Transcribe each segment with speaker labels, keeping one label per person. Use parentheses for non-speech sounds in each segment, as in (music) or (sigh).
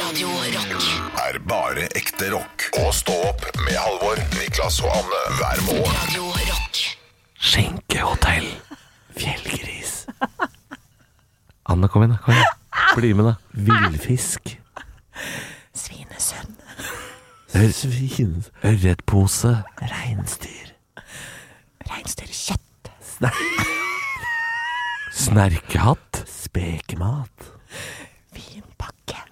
Speaker 1: Radio Rock.
Speaker 2: er bare ekte rock. Og stå opp med Halvor, Niklas og Anne hver morgen.
Speaker 1: Radio Rock.
Speaker 3: Skjenkehotell Fjellgris Anna, kom igjen da, kom igjen Bli med da Villfisk
Speaker 4: Svinesund.
Speaker 3: Svin Ørretpose Regnstyr
Speaker 4: Reinsdyrkjøtt.
Speaker 3: (laughs) Snerkehatt Spekemat
Speaker 4: Vinpakke.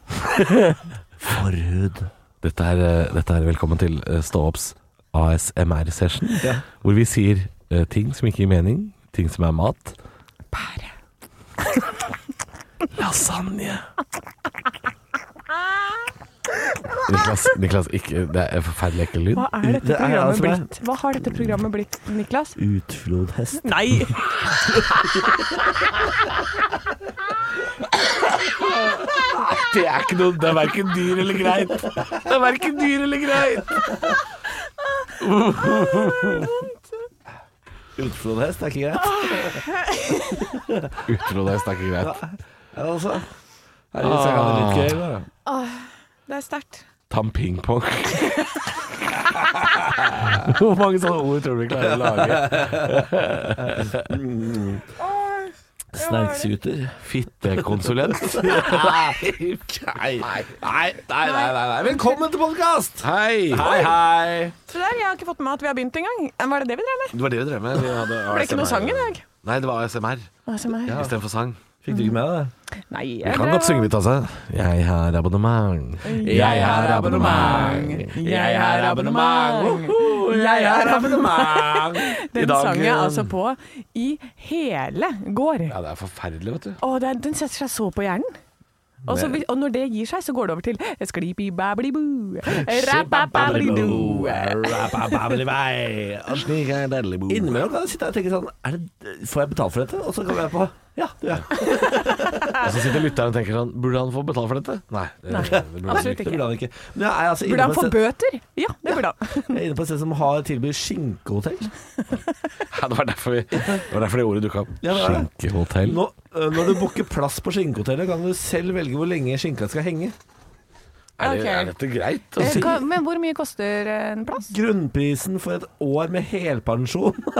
Speaker 3: Forhud Dette er, eh, dette er velkommen til eh, Stå-opps ASMR-session Hvor vi sier eh, ting som ikke gir mening Ting som er mat
Speaker 4: Pære.
Speaker 3: (laughs) Lasagne. Niklas, Niklas ikke, det er forferdelig ekkel lyd.
Speaker 4: Hva er dette
Speaker 5: Det er
Speaker 4: programmet
Speaker 5: altså meg.
Speaker 4: blitt? Hva har dette programmet blitt, Niklas?
Speaker 5: Utflodhest.
Speaker 4: Nei!
Speaker 3: Det er ikke noe, det er verken dyr eller greit. Det er verken dyr eller greit.
Speaker 5: Utflodhest er ikke greit.
Speaker 3: Utro deg, det er ikke greit.
Speaker 5: Altså, herregud, så kan det litt gøy, da.
Speaker 4: Det er sterkt.
Speaker 3: Tam pingpong. (laughs) Hvor mange sånne ord tror du vi klarer å lage?
Speaker 5: Snerksuter.
Speaker 3: (laughs) Fittekonsulent.
Speaker 5: Nei. Nei, nei, nei, nei, nei. Velkommen til podkast!
Speaker 3: Hei.
Speaker 5: Hei, hei.
Speaker 4: Se der, jeg har ikke fått med at vi har begynt engang. Var det det vi drev med?
Speaker 3: Det var det vi drev med. Vi hadde
Speaker 4: Ble det ikke noe sang i dag?
Speaker 3: Nei, det var ASMR istedenfor sang.
Speaker 5: Fikk du ikke med deg det?
Speaker 4: Nei,
Speaker 3: Vi kan godt synge litt, altså. Jeg har abonnement.
Speaker 5: Jeg har abonnement. Jeg har abonnement. Woho, jeg har abonnement. I
Speaker 4: Den
Speaker 5: dag,
Speaker 4: sang jeg
Speaker 5: eh,
Speaker 4: altså på i hele går.
Speaker 3: Ja, det er forferdelig, vet du.
Speaker 4: Å, det er, den setter seg så på hjernen. Og, så, vil- og når det gir seg, så går det over til Sklipi-bablibu. Rappapablidu.
Speaker 5: Rappapablivei.
Speaker 3: Slik er deilig bo.
Speaker 5: Innimellom kan jeg sitte her og tenke sånn er det, Får jeg betalt for dette? Og så kommer jeg på Ja, du ja.
Speaker 3: Og så sitter lytteren og tenker sånn Burde han få betalt for dette? Nei. Det,
Speaker 4: Nei,
Speaker 3: det burde han
Speaker 4: absolutt
Speaker 3: ikke.
Speaker 5: Det burde han ikke. Men jeg er altså inne
Speaker 4: Burde han
Speaker 5: på
Speaker 4: få
Speaker 5: et sted-
Speaker 4: bøter? Ja, det burde han.
Speaker 5: jeg er inne på et sted som har tilbyr skinkehotell.
Speaker 3: Ja, det, var derfor vi, det var derfor det ordet dukka opp.
Speaker 5: Ja, det var det.
Speaker 3: Skinkehotell.
Speaker 5: Nå, øh, når du booker plass på skinkehotellet, kan du selv velge hvor lenge skinka skal henge.
Speaker 3: Er, det,
Speaker 4: Ok.
Speaker 3: er dette greit?
Speaker 4: Eh, hva- Men hvor mye koster en plass?
Speaker 5: Grunnprisen for et år med helpensjon (laughs)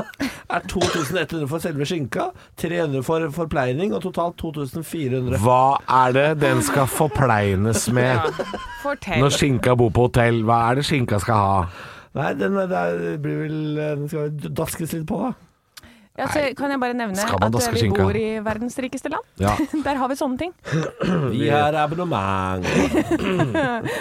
Speaker 5: er 2100 for selve skinka, 300 for forpleining og totalt 2400.
Speaker 3: Hva er det den skal forpleines med
Speaker 4: Fortell.
Speaker 3: når skinka bor på hotell? Hva er det skinka skal ha?
Speaker 5: Nei, den, er- der blir vel Den skal vel daskes litt på, da.
Speaker 4: Altså, kan jeg bare nevne
Speaker 3: Skal man
Speaker 4: at eh,
Speaker 3: daske
Speaker 4: vi
Speaker 3: skinka?
Speaker 4: bor i verdens rikeste land?
Speaker 3: Ja.
Speaker 4: (laughs) Der har vi sånne ting.
Speaker 5: Vi har abonnement.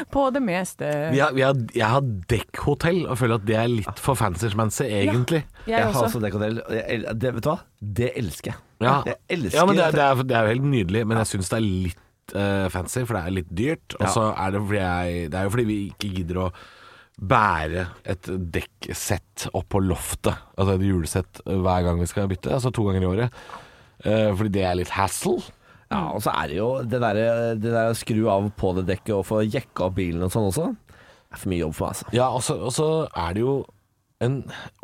Speaker 4: På det meste.
Speaker 3: Vi har, vi har, jeg har dekkhotell og føler at det er litt for fancy-schmancy, egentlig.
Speaker 4: Jeg
Speaker 5: har
Speaker 4: også.
Speaker 5: også dekkhotell. og jeg el- Det, vet du hva? Det elsker jeg.
Speaker 3: Ja,
Speaker 5: Jeg elsker
Speaker 3: ja men det er, det, er, det er jo helt nydelig, men jeg syns det er litt eh, fancy, for det er litt dyrt. Og så er det fordi jeg Det er jo fordi vi ikke gidder å bære et dekksett opp på loftet. Altså et julesett hver gang vi skal bytte, altså to ganger i året. Eh, fordi det er litt hassle.
Speaker 5: Ja, og så er det jo det der, det der å skru av på det dekket og få jekka opp bilen og sånn også. Det er for mye jobb for meg, altså.
Speaker 3: Ja, og så og så er det jo en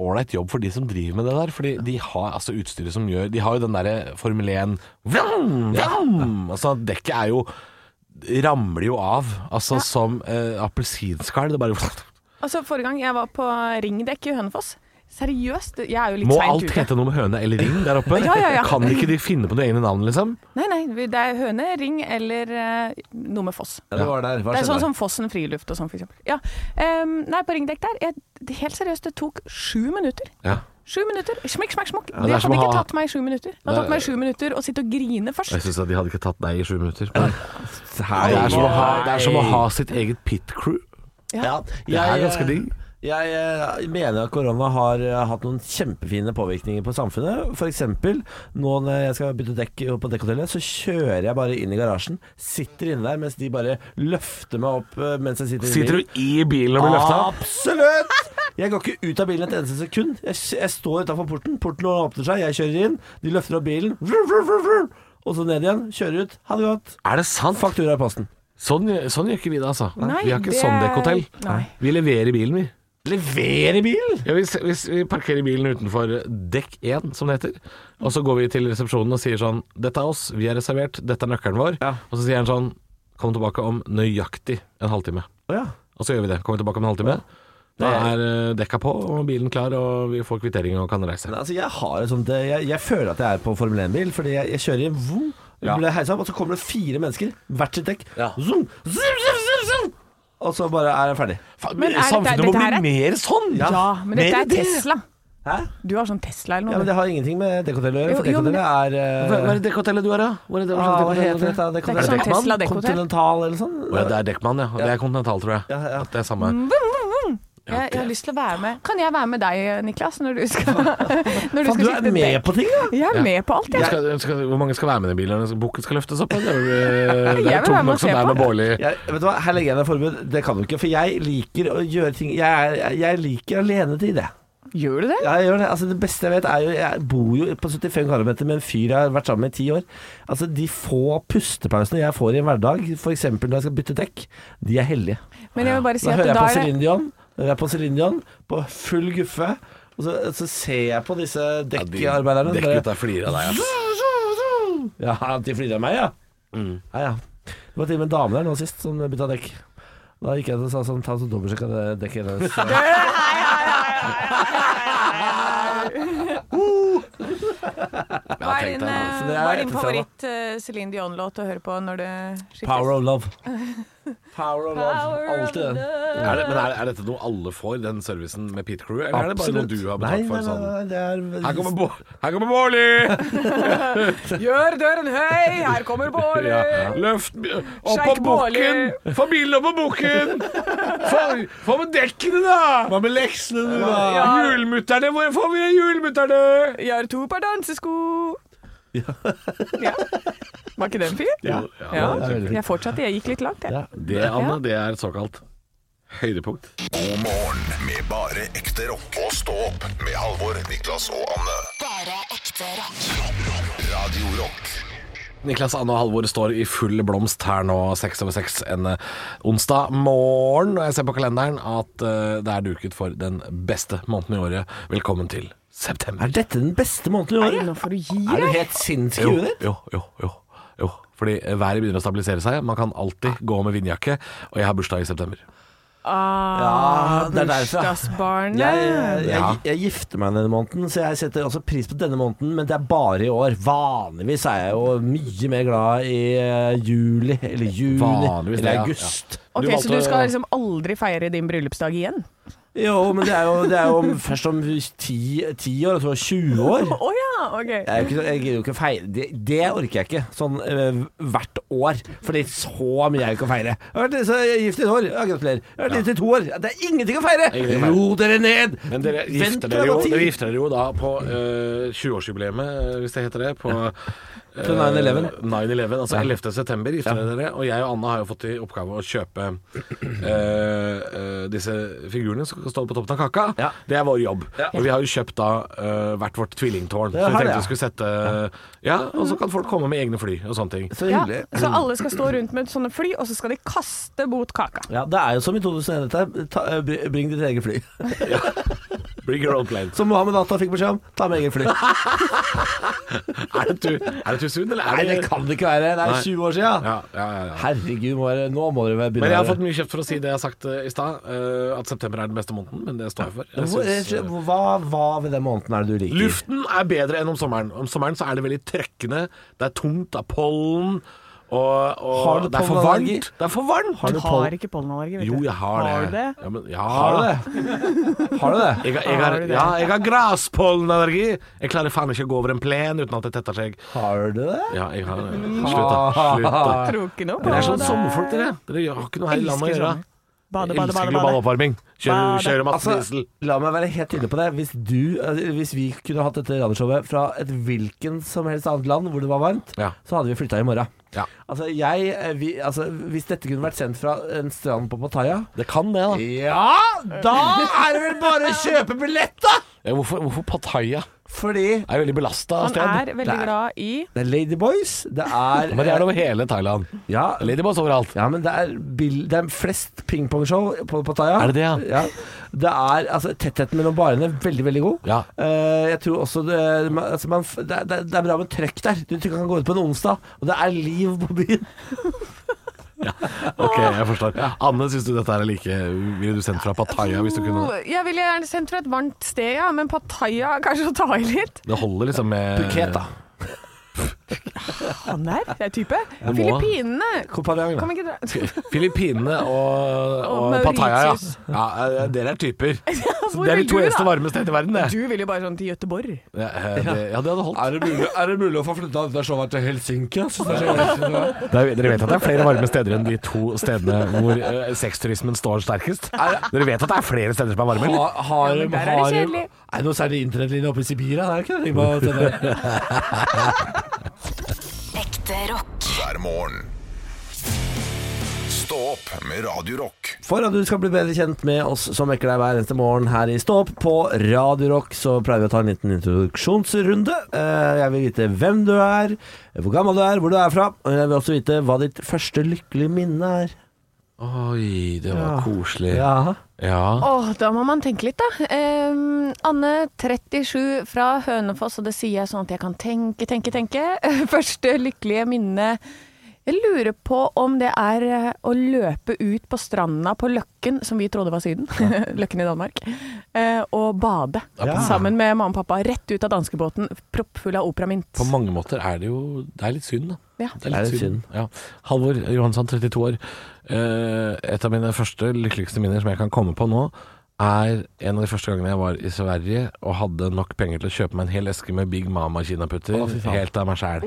Speaker 3: ålreit jobb for de som driver med det der. Fordi de har altså utstyret som gjør De har jo den derre Formel 1 vroom, vroom. Altså, dekket er jo Ramler jo av. Altså som eh, appelsinskall. Det bare
Speaker 4: Altså, forrige gang jeg var på ringdekk i Hønefoss Seriøst, jeg er jo litt
Speaker 3: Må
Speaker 4: seint
Speaker 3: alt
Speaker 4: ute.
Speaker 3: hete noe med høne eller ring der oppe?
Speaker 4: (laughs) Ja, ja, ja.
Speaker 3: Kan ikke de finne på noen egne navn, liksom?
Speaker 4: Nei, nei, vi- det er høne, ring eller eh, noe med foss.
Speaker 5: Ja, det var der. Hva
Speaker 4: Det er sånn
Speaker 5: skjedde?
Speaker 4: som Fossen friluft og sånn, for eksempel. Ja. em, nei, på ringdekk der jeg, det- Helt seriøst, det tok sju minutter.
Speaker 3: Ja.
Speaker 4: Sju minutter. Smekk, smekk, smekk.
Speaker 3: det
Speaker 4: det
Speaker 3: er
Speaker 4: hadde
Speaker 3: som å
Speaker 4: ikke
Speaker 3: ha-
Speaker 4: tatt meg sju minutter. Det
Speaker 3: Det
Speaker 4: hadde
Speaker 3: er-
Speaker 4: tatt meg sju minutter å sitte og grine først.
Speaker 3: Jeg syns at de hadde ikke tatt deg i sju minutter. Det
Speaker 5: Hei.
Speaker 3: er, som å ha, det er som å ha sitt eget pit crew.
Speaker 5: Ja,
Speaker 3: Det er
Speaker 5: jeg-
Speaker 3: ganske digg.
Speaker 5: Jeg eh, mener at korona har eh, hatt noen kjempefine påvirkninger på samfunnet. For eksempel, nå når jeg skal bytte dekk på dekkhotellet, så kjører jeg bare inn i garasjen. Sitter inne der mens de bare løfter meg opp eh, mens jeg sitter inne i
Speaker 3: Sitter
Speaker 5: bilen.
Speaker 3: du i bilen og blir løfta?
Speaker 5: Absolutt! Jeg går ikke ut av bilen et eneste sekund. Jeg, jeg står utafor porten, porten åpner seg, jeg kjører inn, de løfter opp bilen, vrr, vrr, vrr, vrr, og så ned igjen. Kjører ut. Ha det godt.
Speaker 3: Er det sant?
Speaker 5: Faktura i posten.
Speaker 3: Sånn, sånn gjør ikke vi det, altså.
Speaker 4: Nei,
Speaker 3: vi har ikke
Speaker 4: det-
Speaker 3: sånn dekkhotell.
Speaker 4: Nei.
Speaker 3: Vi leverer bilen, vi.
Speaker 5: Levere bilen?
Speaker 3: Ja, vi, s- vi, s- vi parkerer bilen utenfor eh, dekk 1, som det heter. Og så går vi til resepsjonen og sier sånn Dette er oss, vi er reservert, dette er nøkkelen vår.
Speaker 5: Ja.
Speaker 3: Og så sier han sånn Kom tilbake om nøyaktig en halvtime.
Speaker 5: Å ja.
Speaker 3: Og så gjør vi det. Kommer tilbake om en halvtime. Da er eh, dekka på og bilen klar, og vi får kvittering og kan reise.
Speaker 5: Men altså, jeg har et sånt eh, Jeg, jeg føler at jeg er på Formel 1-bil, fordi jeg, jeg kjører i en vum,
Speaker 3: Ja.
Speaker 5: blir heisa opp, og så kommer det fire mennesker, hvert sitt dekk.
Speaker 3: Ja.
Speaker 5: Zoom, zoom, zoom, zoom, zoom. Og så bare er jeg ferdig.
Speaker 3: Faen,
Speaker 4: Men er dette-
Speaker 3: Samfunnet må
Speaker 4: dette her
Speaker 3: bli
Speaker 4: er-
Speaker 3: mer sånn!
Speaker 4: Ja, men dette
Speaker 3: Mer
Speaker 4: er
Speaker 3: det.
Speaker 4: Tesla.
Speaker 5: Hæ?
Speaker 4: Du har sånn Tesla eller
Speaker 5: Ja,
Speaker 4: noe?
Speaker 5: men Det har ingenting med dekkhotellet å gjøre, for
Speaker 4: Jo, jo, men
Speaker 5: dekkhotellet
Speaker 3: Hva hva
Speaker 5: er
Speaker 3: er det dekkhotellet du er, da? Hva, er det,
Speaker 5: eh,
Speaker 3: hva, slags
Speaker 5: ah, Hva heter
Speaker 3: dekkhotellet er
Speaker 5: dette?
Speaker 4: Det er ikke sånn Tesla dekkhotell.
Speaker 5: Kontinental eller sånn?
Speaker 3: Å ja, det er Dekkmann, ja. Det er kontinental, tror jeg.
Speaker 5: Ja, ja.
Speaker 3: At det er samme.
Speaker 4: jeg, jeg har lyst til å være med. Kan jeg være med deg, Niklas, når du (laughs) skal Når du
Speaker 5: Faen,
Speaker 4: skal
Speaker 5: du er
Speaker 4: skifte
Speaker 5: med
Speaker 4: dekk?
Speaker 5: på ting, da!
Speaker 4: Jeg er
Speaker 3: Ja.
Speaker 4: med på alt, jeg.
Speaker 3: Skal, skal, hvor mange skal være med i den bilen? Skal- Bukken skal løftes opp? ja. Det er, eh, det
Speaker 4: Jeg
Speaker 3: er
Speaker 4: vil være
Speaker 3: tungt
Speaker 4: med og
Speaker 3: nok som
Speaker 4: se
Speaker 3: det er
Speaker 4: på.
Speaker 3: med Bårli.
Speaker 5: Jeg, vet du hva, Her legger jeg ned forbud. Det kan du ikke. For jeg liker å gjøre ting Jeg, er, jeg liker alenetid, jeg.
Speaker 4: Gjør du det?
Speaker 5: Ja, jeg gjør det. Altså, det beste jeg vet er jo Jeg bor jo på 75 kvadratmeter med en fyr jeg har vært sammen med i ti år. Altså, de få pustepausene jeg får i en hverdag, f.eks. når jeg skal bytte dekk, de er hellige.
Speaker 4: Men jeg vil bare si
Speaker 5: Da
Speaker 4: at
Speaker 5: hører jeg
Speaker 4: da
Speaker 5: på
Speaker 4: er (laughs) det
Speaker 5: Céline Dion, hører jeg på Celine Dion på full guffe, og så, så ser jeg på disse dekkarbeiderne. bare-
Speaker 3: Dekkgutta flirer av deg, ass.
Speaker 5: Ja, de flirer av meg, ja.
Speaker 3: Mm.
Speaker 5: ja, ja. Det var til og med en dame der nå sist som bytta dekk. Da gikk jeg til og sa sånn, ta så dobbeltsjekk av det dekket hennes.
Speaker 4: (laughs) Hva
Speaker 3: tenk
Speaker 4: er din,
Speaker 3: deg,
Speaker 4: eh,
Speaker 5: altså. Det er
Speaker 4: hva er din
Speaker 5: etterfra, da.
Speaker 4: favoritt eh, Céline Dion-låt å høre på når du skifter?
Speaker 5: Power of
Speaker 4: (laughs)
Speaker 5: love. Power of love. Alltid den.
Speaker 3: Er det, men er, er dette noe alle får, den servicen med Pete Crew? Eller er det bare noe du har betalt for? Sånn?
Speaker 5: det er
Speaker 3: Her kommer, Bo- her kommer Bårli!
Speaker 5: altså-
Speaker 4: Gjør døren høy, her
Speaker 5: (laughs)
Speaker 4: kommer Bårli!
Speaker 3: Ja. Løft b- opp på
Speaker 4: Sjeik Bårli.
Speaker 3: bukken! Få bilen opp på bukken! Få- Få med dekkene, da! Hva med leksene, du, da?
Speaker 4: Ja.
Speaker 3: Hjulmutterne, hvor får vi hjulmutterne?
Speaker 4: Gjør to par dansesko. Ja. Var ikke den fin?
Speaker 5: Ja.
Speaker 4: Ja.
Speaker 5: det er veldig fint.
Speaker 4: Jeg fortsatte, jeg gikk litt langt, jeg.
Speaker 5: Ja.
Speaker 3: Det, Anne, det er et såkalt høydepunkt.
Speaker 2: God morgen med bare ekte rock. Og stå opp med Halvor, Niklas og Anne.
Speaker 1: Bare ekte rock.
Speaker 2: Radio Rock.
Speaker 3: Niklas, Anne og Halvor står i full blomst her nå, seks over seks en eh, onsdag morgen. Og jeg ser på kalenderen at eh, det er duket for den beste måneden i året. Velkommen til september.
Speaker 5: Er dette den beste måneden i året?
Speaker 4: Nå får du gi
Speaker 5: Er
Speaker 4: deg.
Speaker 5: du helt sinnssyk i huet ditt?
Speaker 3: jo, jo, jo, jo. Fordi eh, været begynner å stabilisere seg. Man kan alltid gå med vindjakke. Og jeg har bursdag i september.
Speaker 4: Ah,
Speaker 5: Ja, det er derfor, ja.
Speaker 4: bursdagsbarnet.
Speaker 5: Jeg,
Speaker 4: eh,
Speaker 5: jeg, jeg, jeg gifter meg denne måneden, så jeg setter også pris på denne måneden, men det er bare i år. Vanligvis er jeg jo mye mer glad i eh, juli, eller juni,
Speaker 3: Vanligvis,
Speaker 5: eller
Speaker 3: ja, ja.
Speaker 5: august.
Speaker 4: Ok,
Speaker 3: Du
Speaker 4: Så
Speaker 3: valgte-
Speaker 4: du skal liksom aldri feire din bryllupsdag igjen?
Speaker 5: Jo, men det er jo, det er jo om- først om ti, ti år, og så 20 år.
Speaker 4: Å ja, ok.
Speaker 5: Jeg, er jo ikke, så- jeg gidder jo ikke å feire det, det orker jeg ikke, sånn eh, hvert år. Fordi så mye er jo ikke å feire. Jeg har vært så jeg er gift i et år, ja, gratulerer. Jeg har vært gift i to år, ja, det er ingenting å feire!
Speaker 3: Ingenting å feire.
Speaker 5: Ro dere ned!
Speaker 3: Men dere
Speaker 5: Vent
Speaker 3: gifter
Speaker 5: til
Speaker 3: dere
Speaker 5: det
Speaker 3: jo,
Speaker 5: var tid.
Speaker 3: dere gifter dere jo da på eh, 20-årsjubileet, eh, hvis det heter det.
Speaker 5: (laughs)
Speaker 3: På eh,
Speaker 5: 9/11.
Speaker 3: 9/11, altså 11. september gifter dere dere. Og jeg og Anna har jo fått i oppgave å kjøpe eh, eh, disse figurene som står på toppen av kaka.
Speaker 5: Ja.
Speaker 3: Det er vår jobb. Og vi har jo kjøpt da eh, hvert vårt tvillingtårn. Så vi
Speaker 5: har det,
Speaker 3: tenkte
Speaker 5: ja.
Speaker 3: vi skulle sette Ja, og så kan folk komme med egne fly og
Speaker 5: (laughs)
Speaker 3: sånne ting.
Speaker 5: Så
Speaker 4: Ja,
Speaker 5: hyggelig.
Speaker 4: så alle skal stå rundt med sånne fly, og så skal de kaste mot kaka.
Speaker 5: Ja, det er jo som i 2001 dette. Ta, eh, br- bring ditt eget fly.
Speaker 3: Bring your own plane.
Speaker 5: (laughs) Som Mohammed Atta fikk beskjed om. Ta med
Speaker 3: (laughs)
Speaker 5: eget fly.
Speaker 3: Er det tu- er det Tusun, eller
Speaker 5: Nei,
Speaker 3: er
Speaker 5: det kan det ikke være. Det
Speaker 3: Nei.
Speaker 5: er 20 år siden.
Speaker 3: Ja, ja, ja, ja.
Speaker 5: Herregud, må dere- nå må dere være- begynne
Speaker 3: Men jeg har
Speaker 5: å-
Speaker 3: fått mye kjeft for å si det jeg har sagt eh, i stad, eh, at september er den beste måneden, men det står jeg for. Jeg
Speaker 5: Hvor-
Speaker 3: synes, eh,
Speaker 5: hva, hva ved den måneden er det du liker?
Speaker 3: luften er bedre enn om sommeren. Om sommeren så er det veldig trøkkende, det er tungt av pollen, og,
Speaker 5: Har
Speaker 3: og
Speaker 5: du
Speaker 3: det er for
Speaker 5: pollenallergi?
Speaker 3: varmt. Det er for varmt!
Speaker 5: Har
Speaker 4: Du
Speaker 5: du
Speaker 4: har
Speaker 5: poll-
Speaker 4: ikke pollenallergi, vet du.
Speaker 3: Jo, jeg har det.
Speaker 4: Har du det?
Speaker 3: Ja, men, ja.
Speaker 5: Har du det? Har du det?
Speaker 3: Jeg, har- jeg, har,
Speaker 4: Har du det?
Speaker 3: ja, jeg har graspollenallergi! Jeg klarer faen ikke å gå over en plen uten at det tetter seg.
Speaker 5: Har du det?
Speaker 3: Ja, jeg har det. Slutt, da. (laughs) Slutt, da.
Speaker 4: Tror ikke noe på
Speaker 3: Dere
Speaker 4: det.
Speaker 3: er sånn sommerfolk, dere. Dere har ikke noe her i landet å
Speaker 4: Elsker
Speaker 3: gjøre.
Speaker 4: sommer. Bade, bade,
Speaker 3: Elsker
Speaker 4: bade.
Speaker 3: global
Speaker 4: bade.
Speaker 3: oppvarming. Kjører,
Speaker 4: Bade.
Speaker 3: kjører Mats
Speaker 5: Altså,
Speaker 3: Diesel.
Speaker 5: la meg være helt tydelig på det. Hvis, du, altså, hvis vi kunne hatt dette radioshowet fra et hvilken som helst annet land hvor det var varmt,
Speaker 3: Ja.
Speaker 5: så hadde vi flytta i morgen.
Speaker 3: Ja.
Speaker 5: Altså, jeg, eh, vi, altså, hvis dette kunne vært sendt fra en strand på Pattaya
Speaker 3: Det kan det, da.
Speaker 5: Ja, da er det vel bare å kjøpe billett, da!
Speaker 3: Ja, hvorfor, hvorfor Pattaya?
Speaker 5: Fordi
Speaker 3: Er jo veldig belasta
Speaker 4: Han
Speaker 3: sted.
Speaker 4: er veldig
Speaker 5: Der.
Speaker 4: glad i
Speaker 5: det er Ladyboys, det er eh,
Speaker 3: Men det er det over hele Thailand.
Speaker 5: ja,
Speaker 3: Ladyboys overalt.
Speaker 5: ja, men det er, bill- det er flest pingpongshow på Pattaya.
Speaker 3: Er det det, ja?
Speaker 5: ja? Det er altså tettheten mellom barene veldig, veldig god.
Speaker 3: Ja.
Speaker 5: Eh, jeg tror også det, man, altså man, f- det, er- det, er- det er bra med trøkk der. Du kan gå ut på en onsdag, og det er liv på byen.
Speaker 3: Ok, jeg forstår. Anne, syns du dette her er like Ville du sendt fra Pattaya hvis du kunne
Speaker 4: Jeg ville gjerne sendt fra et varmt sted, ja, men Pattaya kanskje å ta i litt.
Speaker 3: Det holder liksom
Speaker 4: Eh.
Speaker 3: med
Speaker 5: Buket, da.
Speaker 4: Han der, det er type.
Speaker 3: må-
Speaker 4: Filippinene!
Speaker 5: Kompanjong,
Speaker 4: Kan
Speaker 5: da.
Speaker 4: vi ikke dra
Speaker 3: Filippinene og, og,
Speaker 4: Og
Speaker 3: Pattaya,
Speaker 4: Mauritius.
Speaker 3: ja. ja. Dere er typer.
Speaker 4: (laughs) hvor
Speaker 3: det er
Speaker 4: vil
Speaker 3: de
Speaker 4: du,
Speaker 3: to eneste
Speaker 4: da?
Speaker 3: varme stedene i verden, det.
Speaker 4: Du vil jo bare sånn til Gøteborg.
Speaker 3: Ja, eh, det, ja, det hadde holdt.
Speaker 5: Er det, mulig, å få flytta dette showet til Helsinki? altså?
Speaker 4: (laughs)
Speaker 3: dere vet at det er flere varme steder enn de to stedene hvor eh, sexturismen står sterkest? Dere vet at det er flere steder som er varme? eller?
Speaker 5: Har, har,
Speaker 4: Ja, men der er det
Speaker 5: har,
Speaker 4: kjedelig.
Speaker 5: Er det noe særlig internettlinje oppe i Sibir? da? Det er ikke det.
Speaker 4: (laughs)
Speaker 5: Tenk på at det-
Speaker 1: Ekte rock.
Speaker 2: hver morgen. Stå opp med Radio Rock.
Speaker 5: For at du skal bli bedre kjent med oss som vekker deg hver eneste morgen her i Stå opp på Radio Rock, så pleier vi å ta en liten introduksjonsrunde. Eh, Jeg vil vite hvem du er, hvor gammel du er, hvor du er fra. Og jeg vil også vite hva ditt første lykkelige minne er.
Speaker 3: Oi, det var
Speaker 5: Ja.
Speaker 3: koselig. Ja.
Speaker 5: Ja.
Speaker 4: Åh, da må man tenke litt, da. Em, Anne, 37, fra Hønefoss, og det sier jeg sånn at jeg kan tenke, tenke, tenke. (laughs) Første lykkelige minne Jeg lurer på om det er eh, å løpe ut på stranda på Løkken, som vi trodde var Syden, (laughs) Løkken i Danmark, eh, og bade
Speaker 5: Ja.
Speaker 3: Ah.
Speaker 4: sammen med mamma og pappa. Rett ut av danskebåten, proppfull av operamint.
Speaker 3: På mange måter er det jo Det er litt synd, da.
Speaker 4: Ja.
Speaker 3: Det er litt synd. Ja. Halvor Johansson, 32 år. Eh, et av mine første lykkeligste minner som jeg kan komme på nå, er en av de første gangene jeg var i Sverige og hadde nok penger til å kjøpe meg en hel eske med Big Mama kinaputter
Speaker 5: Å, fy faen.
Speaker 3: helt av meg sjæl.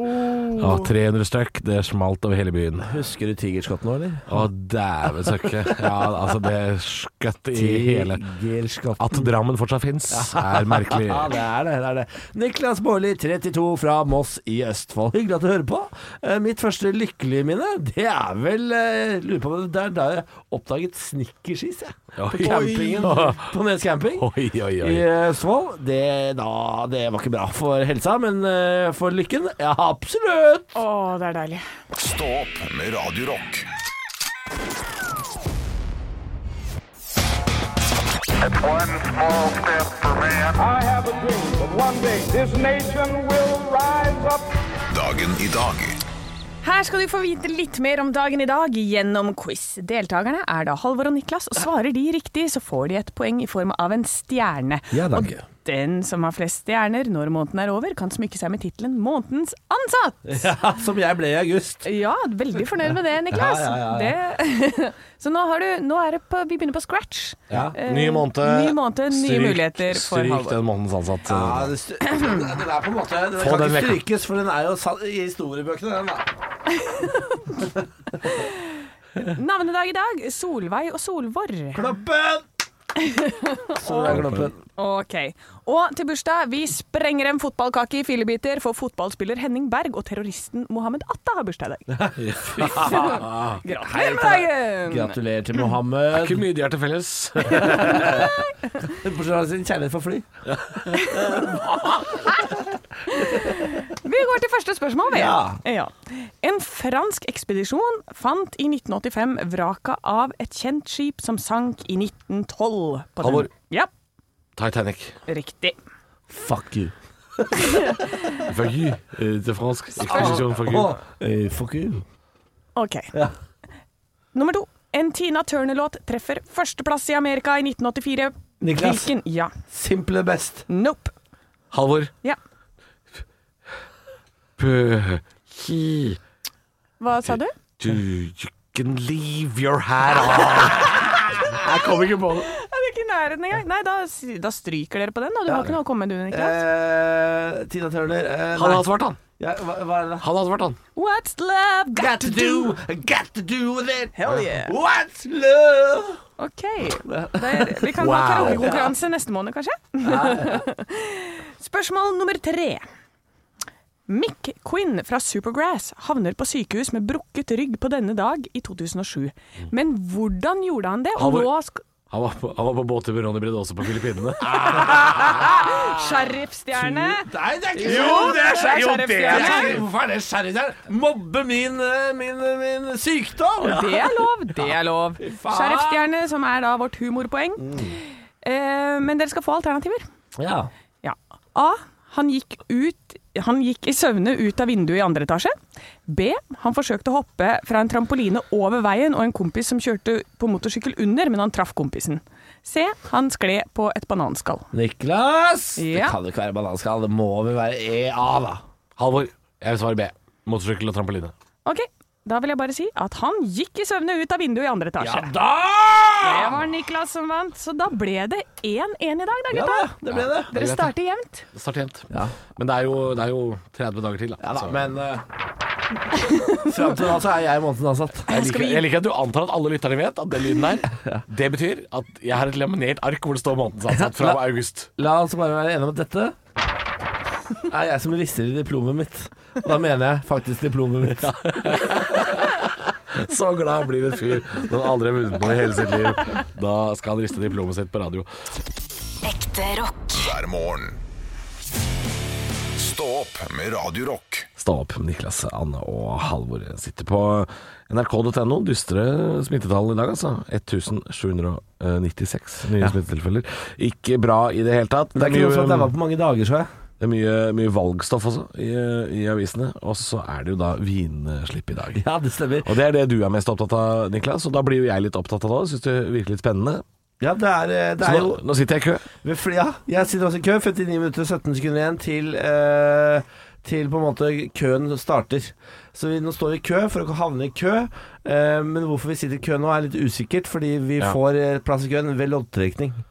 Speaker 3: Ja, 300 stykk, det smalt over hele byen.
Speaker 5: Husker du Tigerskatt nå, eller?
Speaker 3: Å, dæven søkke. Ja, altså, det skøtt i hele
Speaker 5: Tigerskatt.
Speaker 3: At Drammen fortsatt fins, er merkelig.
Speaker 5: (laughs) Ja, det er det. det, er det. Niklas Baarli, 32, fra Moss i Østfold. Hyggelig at du hører på. Eh, mitt første lykkelige minne, det er vel eh, Lurer på om det er da jeg oppdaget snickersis, jeg. På
Speaker 3: Oi.
Speaker 5: campingen. På Nes camping.
Speaker 3: Oi, oi, oi.
Speaker 5: I Østfold. Det, da, det var ikke bra for helsa, men eh, for lykken, ja, absolutt.
Speaker 4: Å, det er deilig.
Speaker 2: Stå opp med Radio Rock.
Speaker 6: It's one small step for man. I have a dream that one day this nation will rise up.
Speaker 2: Dagen i dag.
Speaker 4: Her skal du få vite litt mer om dagen i dag gjennom quiz. Deltakerne er da Halvor og Niklas, og svarer de riktig, så får de et poeng i form av en stjerne.
Speaker 5: Ja, takk.
Speaker 4: og den som har flest stjerner når måneden er over, kan smykke seg med tittelen 'Månedens ansatt'.
Speaker 5: Ja, som jeg ble i august.
Speaker 4: Ja, veldig fornøyd med det, Niklas.
Speaker 5: Eh. (laughs) Ja, ja, ja,
Speaker 4: Det, (laughs) så nå, har du, nå er det på, vi begynner på scratch.
Speaker 5: Ja.
Speaker 4: Eh,
Speaker 3: Ny måned.
Speaker 4: Ny måned, nye muligheter for
Speaker 3: stryk
Speaker 4: Halvor.
Speaker 3: den månedens ansatt. eh.
Speaker 5: Ja, det st- (clears throat) den er på en måte Den
Speaker 3: Få
Speaker 5: kan
Speaker 3: den
Speaker 5: ikke
Speaker 3: vekk.
Speaker 5: strykes, for den er jo sa- i historiebøkene, den da.
Speaker 4: Navnedag i dag Solveig og Solvor.
Speaker 3: (laughs)
Speaker 5: Kloppen! Så det er kloppen.
Speaker 4: Ok. Og til bursdag, vi sprenger en fotballkake i fillebiter for fotballspiller Henning Berg og terroristen Mohammed Atta har bursdag i
Speaker 5: (laughs)
Speaker 4: dag. Gratulerer med dagen!
Speaker 5: Gratulerer (clears throat) til
Speaker 3: Det er
Speaker 5: Mohammed.
Speaker 3: ikke mye de er til felles.
Speaker 5: Bortsett fra sin kjærlighet for fly.
Speaker 4: Vi går til første spørsmål, vi.
Speaker 5: Ja.
Speaker 4: En fransk ekspedisjon fant i 1985 vraket av et kjent skip som sank i 1912. på den-
Speaker 3: Halvor.
Speaker 4: Ja,
Speaker 3: (laughs) Titanic.
Speaker 4: riktig.
Speaker 5: Fuck you.
Speaker 3: Fuck you. Eh, Til fransk. Ekspedisjon fuck you.
Speaker 5: Eh, fuck you.
Speaker 4: Ok.
Speaker 5: Ja.
Speaker 4: Nummer to. En Tina Turner-låt treffer førsteplass i Amerika i 1984.
Speaker 5: Niklas.
Speaker 4: Hvilken? Ja.
Speaker 5: Simple best.
Speaker 4: Nope.
Speaker 3: Halvor.
Speaker 4: Ja.
Speaker 3: Pø- ki-
Speaker 4: Hva sa du?
Speaker 3: Du you can leave your hat on. Jeg kom ikke på det.
Speaker 4: Ja, det er ikke i nærheten engang. Nei, da, da stryker dere på den. Da. Du har ikke noe å komme med, du, Niklas.
Speaker 5: Eh, Tina Turner eh,
Speaker 3: Han
Speaker 5: nei.
Speaker 3: hadde svart, han.
Speaker 5: ja, hva, hva er det?
Speaker 3: Han hadde svart, han.
Speaker 4: What's love got to do?
Speaker 5: got to do with it.
Speaker 4: Hell yeah.
Speaker 5: What's love?
Speaker 4: OK. Der, vi kan ha
Speaker 3: Wow.
Speaker 4: karaokekonkurranse neste måned, kanskje? (laughs) Spørsmål nummer tre. Mick Quinn fra Supergrass havner på sykehus med brukket rygg på denne dag i 2007. Men hvordan gjorde han det? Og
Speaker 3: Halvor.
Speaker 4: nå sk- (gasps)
Speaker 3: Han var på, han var på båttur med Ronny Brede også på Filippinene.
Speaker 4: Sheriffstjerne!
Speaker 5: Nei, det er ikke
Speaker 4: skjer- jo, det er
Speaker 5: Nei, Hvorfor er det skjærlig der? Mobbe min, eh, min, min sykdom!
Speaker 4: Det er lov, det er lov.
Speaker 5: faen. Mm.
Speaker 4: Sheriffstjerne, som er da vårt humorpoeng. Eh, men dere skal få alternativer.
Speaker 5: Ja.
Speaker 4: Ja. A.
Speaker 1: Han gikk, ut, han gikk i søvne ut av vinduet i andre etasje. B. Han forsøkte å hoppe fra en trampoline over veien og en kompis som kjørte på motorsykkel under, men han traff kompisen. C. Han skled på et bananskall.
Speaker 5: Niklas! Det
Speaker 1: Ja.
Speaker 5: kan jo ikke være bananskall, det må vel være EA, da.
Speaker 3: Halvor, jeg vil svare B. Motorsykkel og trampoline.
Speaker 1: Ok, da vil jeg bare si at han gikk i søvne ut av vinduet i andre etasje.
Speaker 5: da!
Speaker 1: Det var Niklas som vant, så da ble det 1-1 i dag, da,
Speaker 5: Ja
Speaker 1: gutta.
Speaker 5: da, det ble det.
Speaker 4: Dere starter jevnt.
Speaker 3: Start jevnt.
Speaker 5: Ja.
Speaker 3: Men det er, jo, det er jo 30 dager til, da.
Speaker 5: Ja da,
Speaker 3: Så-
Speaker 5: men uh, Fram til da så er jeg månedens ansatt.
Speaker 3: jeg, liker, jeg liker at du antar at alle lytterne vet at den lyden (laughs) der, det betyr at jeg har et laminert ark hvor det står månedens ansatt fra
Speaker 5: Ja.
Speaker 3: august.
Speaker 5: La oss bare være enige om at dette er jeg som rister i diplomet mitt. Og da mener jeg faktisk diplomet mitt.
Speaker 3: (laughs) Så glad blir en fyr når han aldri har vunnet noe i hele sitt liv. Da skal han riste diplomet sitt på radio.
Speaker 7: Ekte rock.
Speaker 2: hver morgen. Stå opp med Radio Rock.
Speaker 3: Stå opp, Niklas, Anne og Halvor sitter på nrk.no. Dystre smittetall i dag, altså. 1796 nye smittetilfeller. Ikke bra i det hele tatt.
Speaker 5: Det er ikke
Speaker 3: mye-
Speaker 5: noe som at jeg var på mange dager, så jeg.
Speaker 3: Det er mye, mye valgstoff også i, i avisene. Og så er det jo da vinslipp i dag.
Speaker 5: Ja, det stemmer.
Speaker 3: Og det er det du er mest opptatt av, Niklas. Og da blir jo jeg litt opptatt av det òg. Syns det virker litt spennende.
Speaker 5: Ja, det er, eh, det
Speaker 3: Så
Speaker 5: er
Speaker 3: nå,
Speaker 5: jo
Speaker 3: nå sitter jeg i kø.
Speaker 5: ved fl- Ja, jeg sitter også i kø. 59 minutter og 17 sekunder igjen til eh, til på en måte køen starter. Så vi, nå står vi i kø for å havne i kø. eh, men hvorfor vi sitter i kø nå er litt usikkert, fordi vi
Speaker 3: Ja.
Speaker 5: får eh, plass i køen ved loddtrekning. (laughs)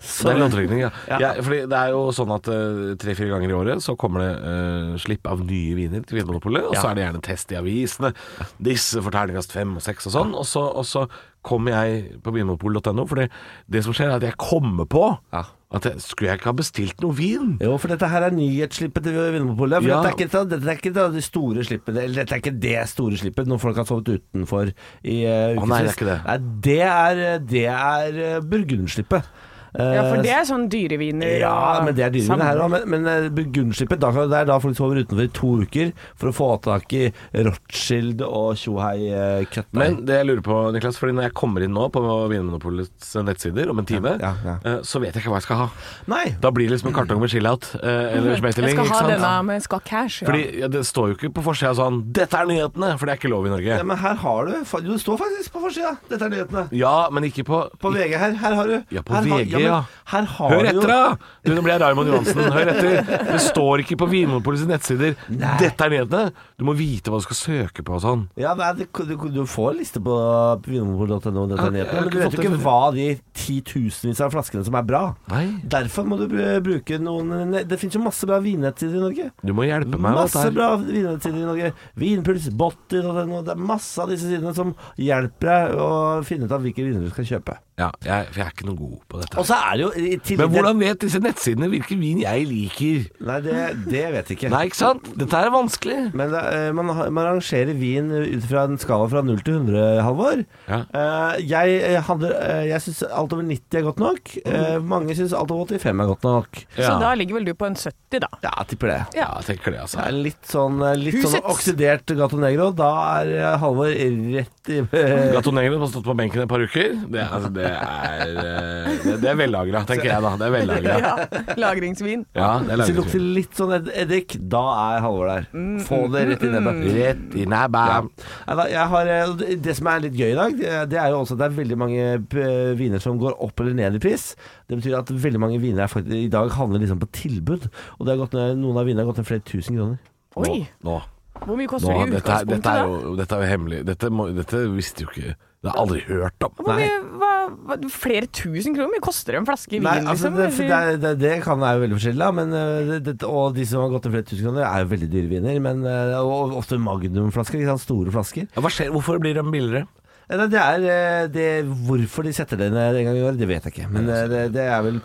Speaker 3: Det er loddtrekning, ja.
Speaker 5: Ja.
Speaker 3: ja. Fordi det er jo sånn at eh, tre-fire ganger i året så kommer det eh, slipp av nye viner til Vinmonopolet, og
Speaker 5: Ja.
Speaker 3: så er det gjerne test i avisene. Disse får terningkast fem og seks og sånn. Og så, og så kommer jeg på vinmonopol.no, for det som skjer er at jeg kommer på
Speaker 5: Ja.
Speaker 3: at jeg, skulle jeg ikke ha bestilt noe vin?
Speaker 5: Jo, for dette her er nyhetsslippet til Vinmonopolet. For
Speaker 3: Ja.
Speaker 5: dette, er ikke, dette er ikke det store slippet Eller dette er ikke det store slippet når folk har sovet utenfor i uh,
Speaker 3: Å, nei, det er ikke det.
Speaker 5: Nei, det er, det er eh, burgundslippet. Eh,
Speaker 1: Ja, for det er sånn dyreviner.
Speaker 5: ja,
Speaker 1: og-
Speaker 5: men det er dyrere her òg.
Speaker 1: Sam-
Speaker 5: Men, men eh, burgundslippet, da, kan- det er da folk sover utenfor i to uker for å få tak i Rothschild og eh, tjohei-køtta.
Speaker 3: Men det jeg lurer på, Niklas, fordi når jeg kommer inn nå på Vinmonopolets nettsider om en time,
Speaker 5: Ja, ja, ja.
Speaker 3: eh, så vet jeg ikke hva jeg skal ha.
Speaker 5: Nei!
Speaker 3: Da blir det liksom en kartong med chill-out eh,
Speaker 4: (laughs)
Speaker 3: eller
Speaker 4: Jeg
Speaker 3: smeteling.
Speaker 4: skal
Speaker 3: ikke
Speaker 4: ha
Speaker 3: sant?
Speaker 4: denne, men jeg skal ha cash. Ja.
Speaker 3: Fordi ja, Det står jo ikke på forsida sånn 'Dette er nyhetene!' For det er ikke lov i Norge.
Speaker 5: Ja, men her har du fa- Jo, det står faktisk på forsida. Dette er nyhetene.
Speaker 3: Ja, men ikke på,
Speaker 5: På VG her. Her har du.
Speaker 3: Ja, på
Speaker 5: her har-
Speaker 3: VG,
Speaker 5: men
Speaker 3: ja.
Speaker 5: Her har
Speaker 3: Hør
Speaker 5: du jo-
Speaker 3: etter, da! Du, nå ble jeg Raymond Johansen.
Speaker 5: (laughs)
Speaker 3: Hør etter. Det står ikke på Vinmonopolets nettsider. Dette er nyhetene. Du må vite hva du skal søke på og sånn.
Speaker 5: Ja, nei, det, du, du får liste på vinmonopolet.no, dette er
Speaker 3: Jeg
Speaker 5: nyheten,
Speaker 3: har
Speaker 5: men du
Speaker 3: ikke
Speaker 5: vet
Speaker 3: fått
Speaker 5: jo ikke
Speaker 3: det.
Speaker 5: hva de titusenvis av flaskene som er bra.
Speaker 3: Nei.
Speaker 5: Derfor må du br- bruke noen Det finnes jo masse bra vinnettsider i Norge.
Speaker 3: Du må hjelpe meg med
Speaker 5: Masse
Speaker 3: alt det her.
Speaker 5: bra vinnettsider i Norge. Vinpuls, Botter.no Det er masse av disse sidene som hjelper deg å finne ut av hvilke viner du skal kjøpe.
Speaker 3: Ja, jeg, for jeg er ikke noe god på dette.
Speaker 5: Og så er det jo i tillegg
Speaker 3: Men hvordan vet disse nettsidene hvilken vin jeg liker?
Speaker 5: Nei, det, det vet jeg ikke.
Speaker 3: Nei, ikke sant? Dette er vanskelig.
Speaker 5: Men det, eh, man, har- man rangerer vin ut fra en skala fra 0 til 100, Halvor.
Speaker 3: Ja.
Speaker 5: Eh, jeg eh, hadde, eh, jeg syns alt over 90 er godt nok. Eh, mange syns alt over 85 er godt nok.
Speaker 1: Så
Speaker 3: Ja.
Speaker 1: da ligger vel du på en 70, da.
Speaker 5: Ja, jeg tipper det.
Speaker 3: Ja, jeg tenker det, altså.
Speaker 5: Det er litt sånn, eh, litt sånn
Speaker 1: Husets.
Speaker 5: oksidert Gato Negro. Da er eh, Halvor rett i (laughs) eh,
Speaker 3: Gato Negro som har stått på benken et par uker. Det, er- altså, det er, eh, det, det er vellagra, tenker jeg da. Det er vellagra.
Speaker 1: Ja. Lagringsvin.
Speaker 3: Ja, det er
Speaker 5: Hvis det lukter
Speaker 3: lagringsvin.
Speaker 5: litt sånn ed- eddik, da er Halvor der.
Speaker 1: Mm,
Speaker 5: Få det rett i nebbet.
Speaker 3: Rett i nebbet.
Speaker 5: Nei da, jeg har, eh, det- det som er litt gøy i dag, det- det er jo også at det er veldig mange eh, viner som går opp eller ned i pris. Det betyr at veldig mange viner er faktisk, i dag handler liksom på tilbud. Og det har gått ned, noen av vinene har gått ned flere tusen kroner.
Speaker 1: Oi,
Speaker 3: Nå,
Speaker 1: hvor mye koster
Speaker 3: nå,
Speaker 1: det i
Speaker 3: dette, er,
Speaker 1: utgangspunktet,
Speaker 3: dette, er
Speaker 1: da?
Speaker 3: jo, dette er jo hemmelig. Dette, må, dette visste jo ikke Det har jeg aldri hørt om.
Speaker 1: Hvor mye, hva, hva, flere tusen kroner? Hvor mye koster det en flaske vin,
Speaker 5: Nei, altså,
Speaker 1: liksom?
Speaker 5: det, det,
Speaker 1: Eller-
Speaker 5: er- det, det kan være veldig forskjellig, da. Men, eh, det, det, og de som har gått ned flere tusen kroner, er jo veldig dyre viner. Men, eh, og ofte magnumflasker. Ikke sant? Store flasker.
Speaker 3: Ja, hva skjer? Hvorfor blir de billigere?
Speaker 5: Eh, nei, Det er, eh, det, hvorfor de setter det ned en gang i året, det vet jeg ikke. Men eh, det, det er vel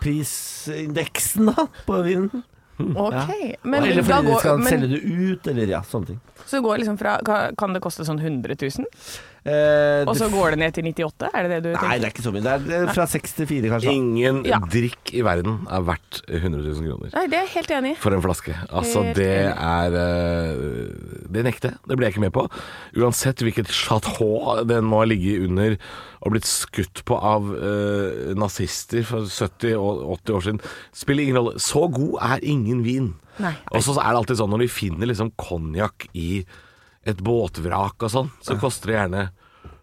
Speaker 5: prisindeksen, da, på vinen.
Speaker 4: Ok, men
Speaker 5: eller
Speaker 4: da
Speaker 5: fordi de
Speaker 4: går,
Speaker 5: skal
Speaker 4: men,
Speaker 5: selge det ut, eller ja, sånne ting.
Speaker 4: så går liksom fra
Speaker 1: Ka- Kan det koste sånn 100 000?
Speaker 5: Eh,
Speaker 4: Og så
Speaker 5: det-
Speaker 4: går det ned til 98? Er det det du
Speaker 5: Nei,
Speaker 4: tenker?
Speaker 5: det er ikke så mye. Det er eh, fra seks til fire, kanskje.
Speaker 3: Altså, Ingen
Speaker 4: Ja.
Speaker 3: drikk i verden er verdt 100 000 kroner.
Speaker 4: Nei, det er jeg helt enig i.
Speaker 3: For en flaske. Altså,
Speaker 4: Helt
Speaker 3: det er eh, Det nekter jeg. Det blir jeg ikke med på. Uansett hvilket chateau den må ha ligget under og blitt skutt på av eh, nazister for 70 og 80 år siden, spiller ingen rolle. Så god er ingen vin.
Speaker 4: Nei.
Speaker 3: Og så er det alltid sånn når de finner liksom konjakk i et båtvrak og sånn, så koster det gjerne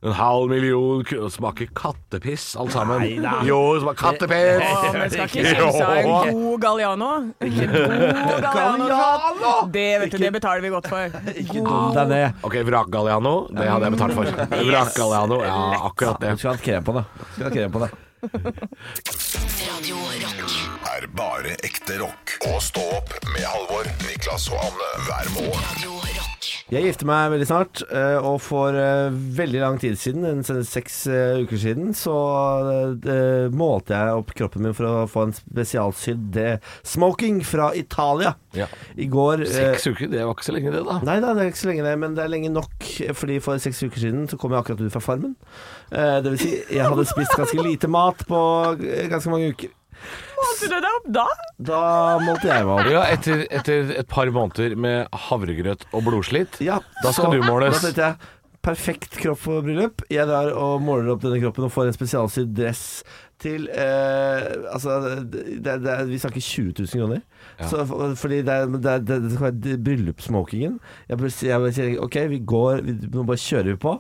Speaker 3: en halv million kroner. Smaker kattepiss, alt sammen. Jo, smaker
Speaker 5: (laughs)
Speaker 3: kattepiss!
Speaker 4: Å, men skal ikke kimse av en god Galliano. Ikke
Speaker 5: (laughs)
Speaker 4: god Galliano! Det vet du, det betaler vi godt for.
Speaker 5: (laughs) Ikke dum deg ned.
Speaker 3: Ok, vrakgalliano, det hadde jeg betalt for. Vrakgalliano, ja, akkurat
Speaker 5: Du
Speaker 3: det.
Speaker 5: skulle hatt krem på det. Du Skulle hatt krem på det.
Speaker 8: Radio Rock.
Speaker 2: er bare ekte rock. Og stå opp med Halvor, Niklas og Anne hver morgen.
Speaker 8: Radio Rock.
Speaker 5: Jeg gifter meg veldig snart, eh, og for eh, veldig lang tid siden, en se- seks eh, uker siden, så eh, målte jeg opp kroppen min for å få en spesialsydd eh, smoking fra Italia.
Speaker 3: Ja.
Speaker 5: I går eh,
Speaker 3: Seks uker, det var ikke så lenge det, da.
Speaker 5: Nei da, det er ikke så lenge det, men det er lenge nok. Fordi For seks uker siden så kom jeg akkurat ut fra Farmen. Eh, Det vil si, jeg hadde spist ganske lite mat på eh, ganske mange uker.
Speaker 4: Målte du deg opp da?
Speaker 5: Da målte jeg meg opp.
Speaker 3: Ja, etter, etter et par måneder med havregrøt og blodslitt,
Speaker 5: Ja,
Speaker 3: da skal
Speaker 5: så-
Speaker 3: du måles.
Speaker 5: Da tenkte jeg perfekt kropp for bryllup. Jeg drar og måler opp denne kroppen og får en spesialsydd dress til eh, Altså, det, det, er- vi snakker 20 000 kroner. Så, for- fordi det, er- det, er- det, det skal være d- bryllupssmokingen. Jeg bare sier jeg bare sier, OK, vi går, vi, nå bare kjører vi på.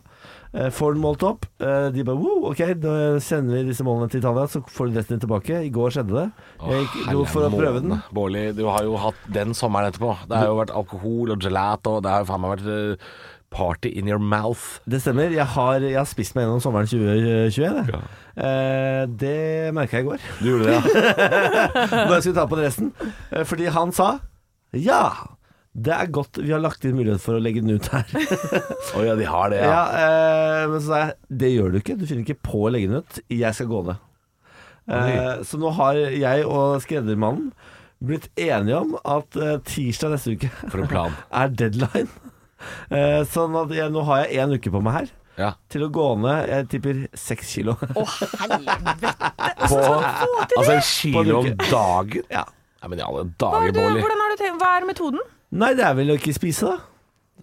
Speaker 5: Eh, Får den målt opp. eh, De bare wow, OK, da sender vi disse målene til Italia, så får de resten tilbake. I går skjedde det. Jeg gikk dro for å prøve den.
Speaker 3: Bårli, du har jo hatt den sommeren etterpå. Det har jo vært alkohol og gelato, og det har jo faen meg vært eh, party in your mouth.
Speaker 5: Det stemmer. Jeg har, jeg har spist meg gjennom sommeren 2021. jeg. Eh, det merka jeg i går.
Speaker 3: Du gjorde
Speaker 5: (laughs)
Speaker 3: det, ja.
Speaker 5: Når jeg skulle ta på den resten. Eh, fordi han sa ja. Det er godt vi har lagt inn mulighet for å legge den ut her.
Speaker 3: Å ja, de har det,
Speaker 5: Ja,
Speaker 3: ja.
Speaker 5: eh, Men så sa jeg det gjør du ikke. Du finner ikke på å legge den ut. Jeg skal gå ned. Eh, så nå har jeg og skreddermannen blitt enige om at eh, tirsdag neste uke
Speaker 3: For en plan.
Speaker 5: er deadline. Eh, sånn at jeg, nå har jeg én uke på meg her
Speaker 3: Ja.
Speaker 5: til å gå ned. Jeg tipper seks
Speaker 4: (laughs)
Speaker 5: kilo.
Speaker 4: Å, helvete!
Speaker 3: På, altså en kilo om
Speaker 5: uke.
Speaker 3: dagen?
Speaker 5: Ja.
Speaker 3: Nei, men i alle
Speaker 4: Hva er,
Speaker 3: dager,
Speaker 4: du,
Speaker 3: Bårli.
Speaker 4: hvordan har du tenkt, hva er metoden?
Speaker 5: Nei, det er vel å ikke spise, da.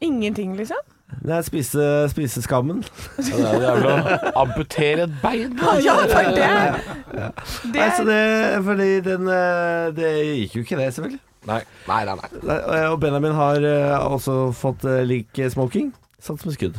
Speaker 4: Ingenting,
Speaker 5: (laughs)
Speaker 4: liksom?
Speaker 5: Det er spise, spise skammen.
Speaker 3: Ja, Det er- det er vel å amputere et bein. da.
Speaker 4: Ja, for det! Det
Speaker 5: Nei, så
Speaker 4: er
Speaker 5: det, fordi den, eh, det gikk jo ikke, det, selvfølgelig.
Speaker 3: Nei, nei, nei. nei.
Speaker 5: Nei, Og Benjamin har eh, også fått eh, lik smoking. Satt som skudd.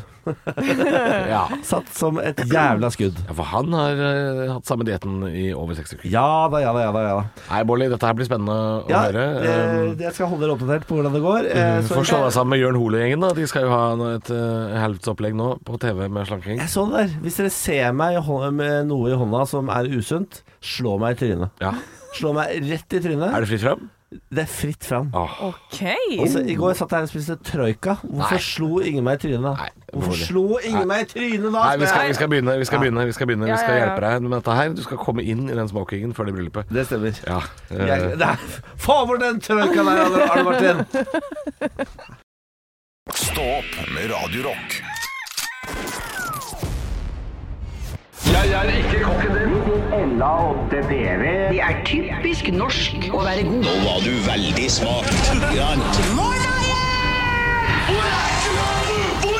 Speaker 3: Ja.
Speaker 5: Satt som et jævla skudd.
Speaker 3: Ja, For han har eh, hatt samme dietten i over seks uker.
Speaker 5: Ja da, ja da, ja da. ja da
Speaker 3: Nei, Bolly, dette her blir spennende å
Speaker 5: ja,
Speaker 3: høre.
Speaker 5: eh, Jeg skal holde dere oppdatert på hvordan det går. Eh,
Speaker 3: Um,
Speaker 5: så-
Speaker 3: Får slå deg sammen med Jørn Hoel-gjengen. da. De skal jo ha en- et eh, helvetes opplegg nå på TV med slanking.
Speaker 5: jeg så det der. Hvis dere ser meg i hå- med noe i hånda som er usunt, slå meg i trynet.
Speaker 3: Ja.
Speaker 5: Slå meg rett i
Speaker 3: Er
Speaker 5: trynet.
Speaker 3: det fritt fram?
Speaker 5: Det er fritt fram.
Speaker 3: Åh,
Speaker 4: OK.
Speaker 5: Altså, I går satt jeg her og spiste troika. Hvorfor
Speaker 3: Nei.
Speaker 5: slo ingen meg i trynet da?
Speaker 3: Nei,
Speaker 5: Hvorfor
Speaker 3: dårlig.
Speaker 5: slo ingen meg i trynet da?
Speaker 3: Nei, vi skal,
Speaker 5: spør
Speaker 3: vi
Speaker 5: jeg?
Speaker 3: skal begynne. Vi skal begynne, vi skal, begynne. Vi
Speaker 4: Ja,
Speaker 3: skal
Speaker 4: ja, ja.
Speaker 3: hjelpe deg med dette her. Du skal komme inn i den smokingen før det bryllupet.
Speaker 5: Det stemmer.
Speaker 3: Ja.
Speaker 5: Jeg,
Speaker 3: eh,
Speaker 5: nei, få bort den troika der, Arne- Arne Martin!
Speaker 2: Stå opp med Radio Rock.
Speaker 9: Det er typisk norsk å være god. Nå var du veldig smart.
Speaker 10: Hvor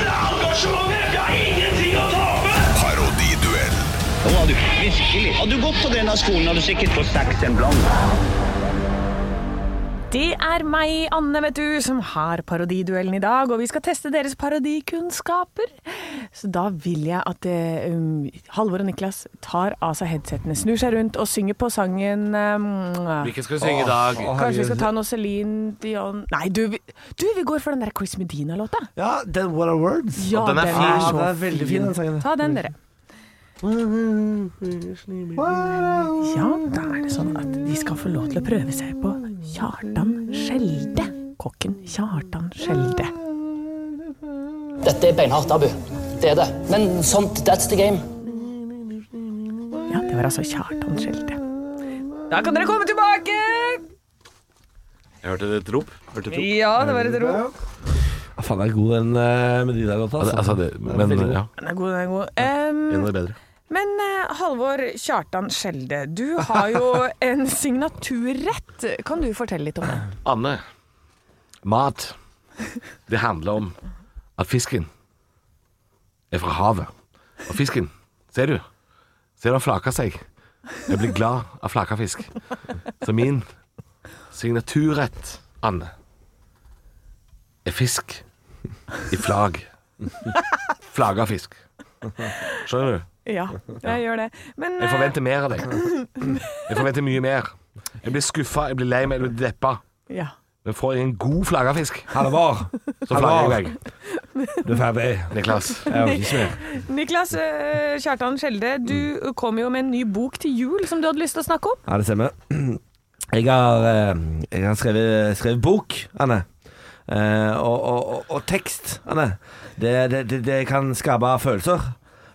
Speaker 10: er engasjementet? Jeg har ingenting å tape!
Speaker 2: Parodiduell.
Speaker 9: Nå var du virkelig. Hadde du gått på denne skolen, hadde du sikkert fått seks en blank.
Speaker 4: Det er meg, Anne, vet du, som har parodiduellen i dag, og vi skal teste deres parodikunnskaper. Så da vil jeg at eh, um, Halvor og Niklas tar av seg headsetene, snur seg rundt og synger på sangen um,
Speaker 3: Hvilken skal vi synge i dag?
Speaker 4: Kanskje vi skal ta noe Celine Dion Nei, du, vi, du, vi går for den der Chris Medina-låta.
Speaker 5: Ja, den What Are Words?
Speaker 4: Ja,
Speaker 3: den er fin.
Speaker 5: Ja,
Speaker 4: så
Speaker 5: den er veldig fin, den sangen.
Speaker 4: Ta den, dere. Ja, da er det sånn at de skal få lov til å prøve seg på Kjartan Skjelde. Kokken Kjartan Skjelde.
Speaker 11: Dette er beinhardt, Abu. Det er det. Men sånt, that's the game.
Speaker 4: Ja, det var altså Kjartan Skjelde. Da kan dere komme tilbake!
Speaker 3: Jeg hørte et rop. Hørte et rop.
Speaker 4: Ja, det var et rop.
Speaker 5: Ja, Ah, faen, den er god, den eh, Medina-låta.
Speaker 3: Altså, altså det,
Speaker 5: Den er
Speaker 3: men
Speaker 5: veldig god.
Speaker 3: ja.
Speaker 1: Den er god, den er god. Ehm,
Speaker 4: Mm.
Speaker 5: En av de bedre.
Speaker 1: men eh, Halvor Kjartan Skjelde, du har jo en signaturrett. Kan du fortelle litt om det?
Speaker 3: Anne, mat, det handler om at fisken er fra havet. Og fisken, ser du, ser du han flaker seg. Jeg blir glad av flaka fisk. Så min signaturrett, Anne, er fisk i flagg. Flaga fisk. Skjønner du?
Speaker 4: (laughs)
Speaker 1: Ja, jeg gjør det. Men
Speaker 3: Jeg
Speaker 1: eh,
Speaker 3: forventer mer av deg. Jeg forventer mye mer. Jeg blir skuffa, jeg blir lei meg, jeg blir deppa.
Speaker 1: eh, ja.
Speaker 3: Men får jeg en god flaggerfisk,
Speaker 5: Halvor,
Speaker 3: så flagger jeg deg,
Speaker 5: du er ferdig.
Speaker 3: Niklas.
Speaker 5: Jeg orker ikke mer.
Speaker 1: Niklas eh, Kjartan Skjelde,
Speaker 4: Mm.
Speaker 1: du kom jo med en ny bok til jul som du hadde lyst til å
Speaker 4: (laughs)
Speaker 1: snakke om.
Speaker 5: Ja, det stemmer. Jeg har, eh, jeg har skrevet, skrevet bok, Anne. Eh, og, og, og, og tekst, Anne. Det, det, det, det kan skape følelser.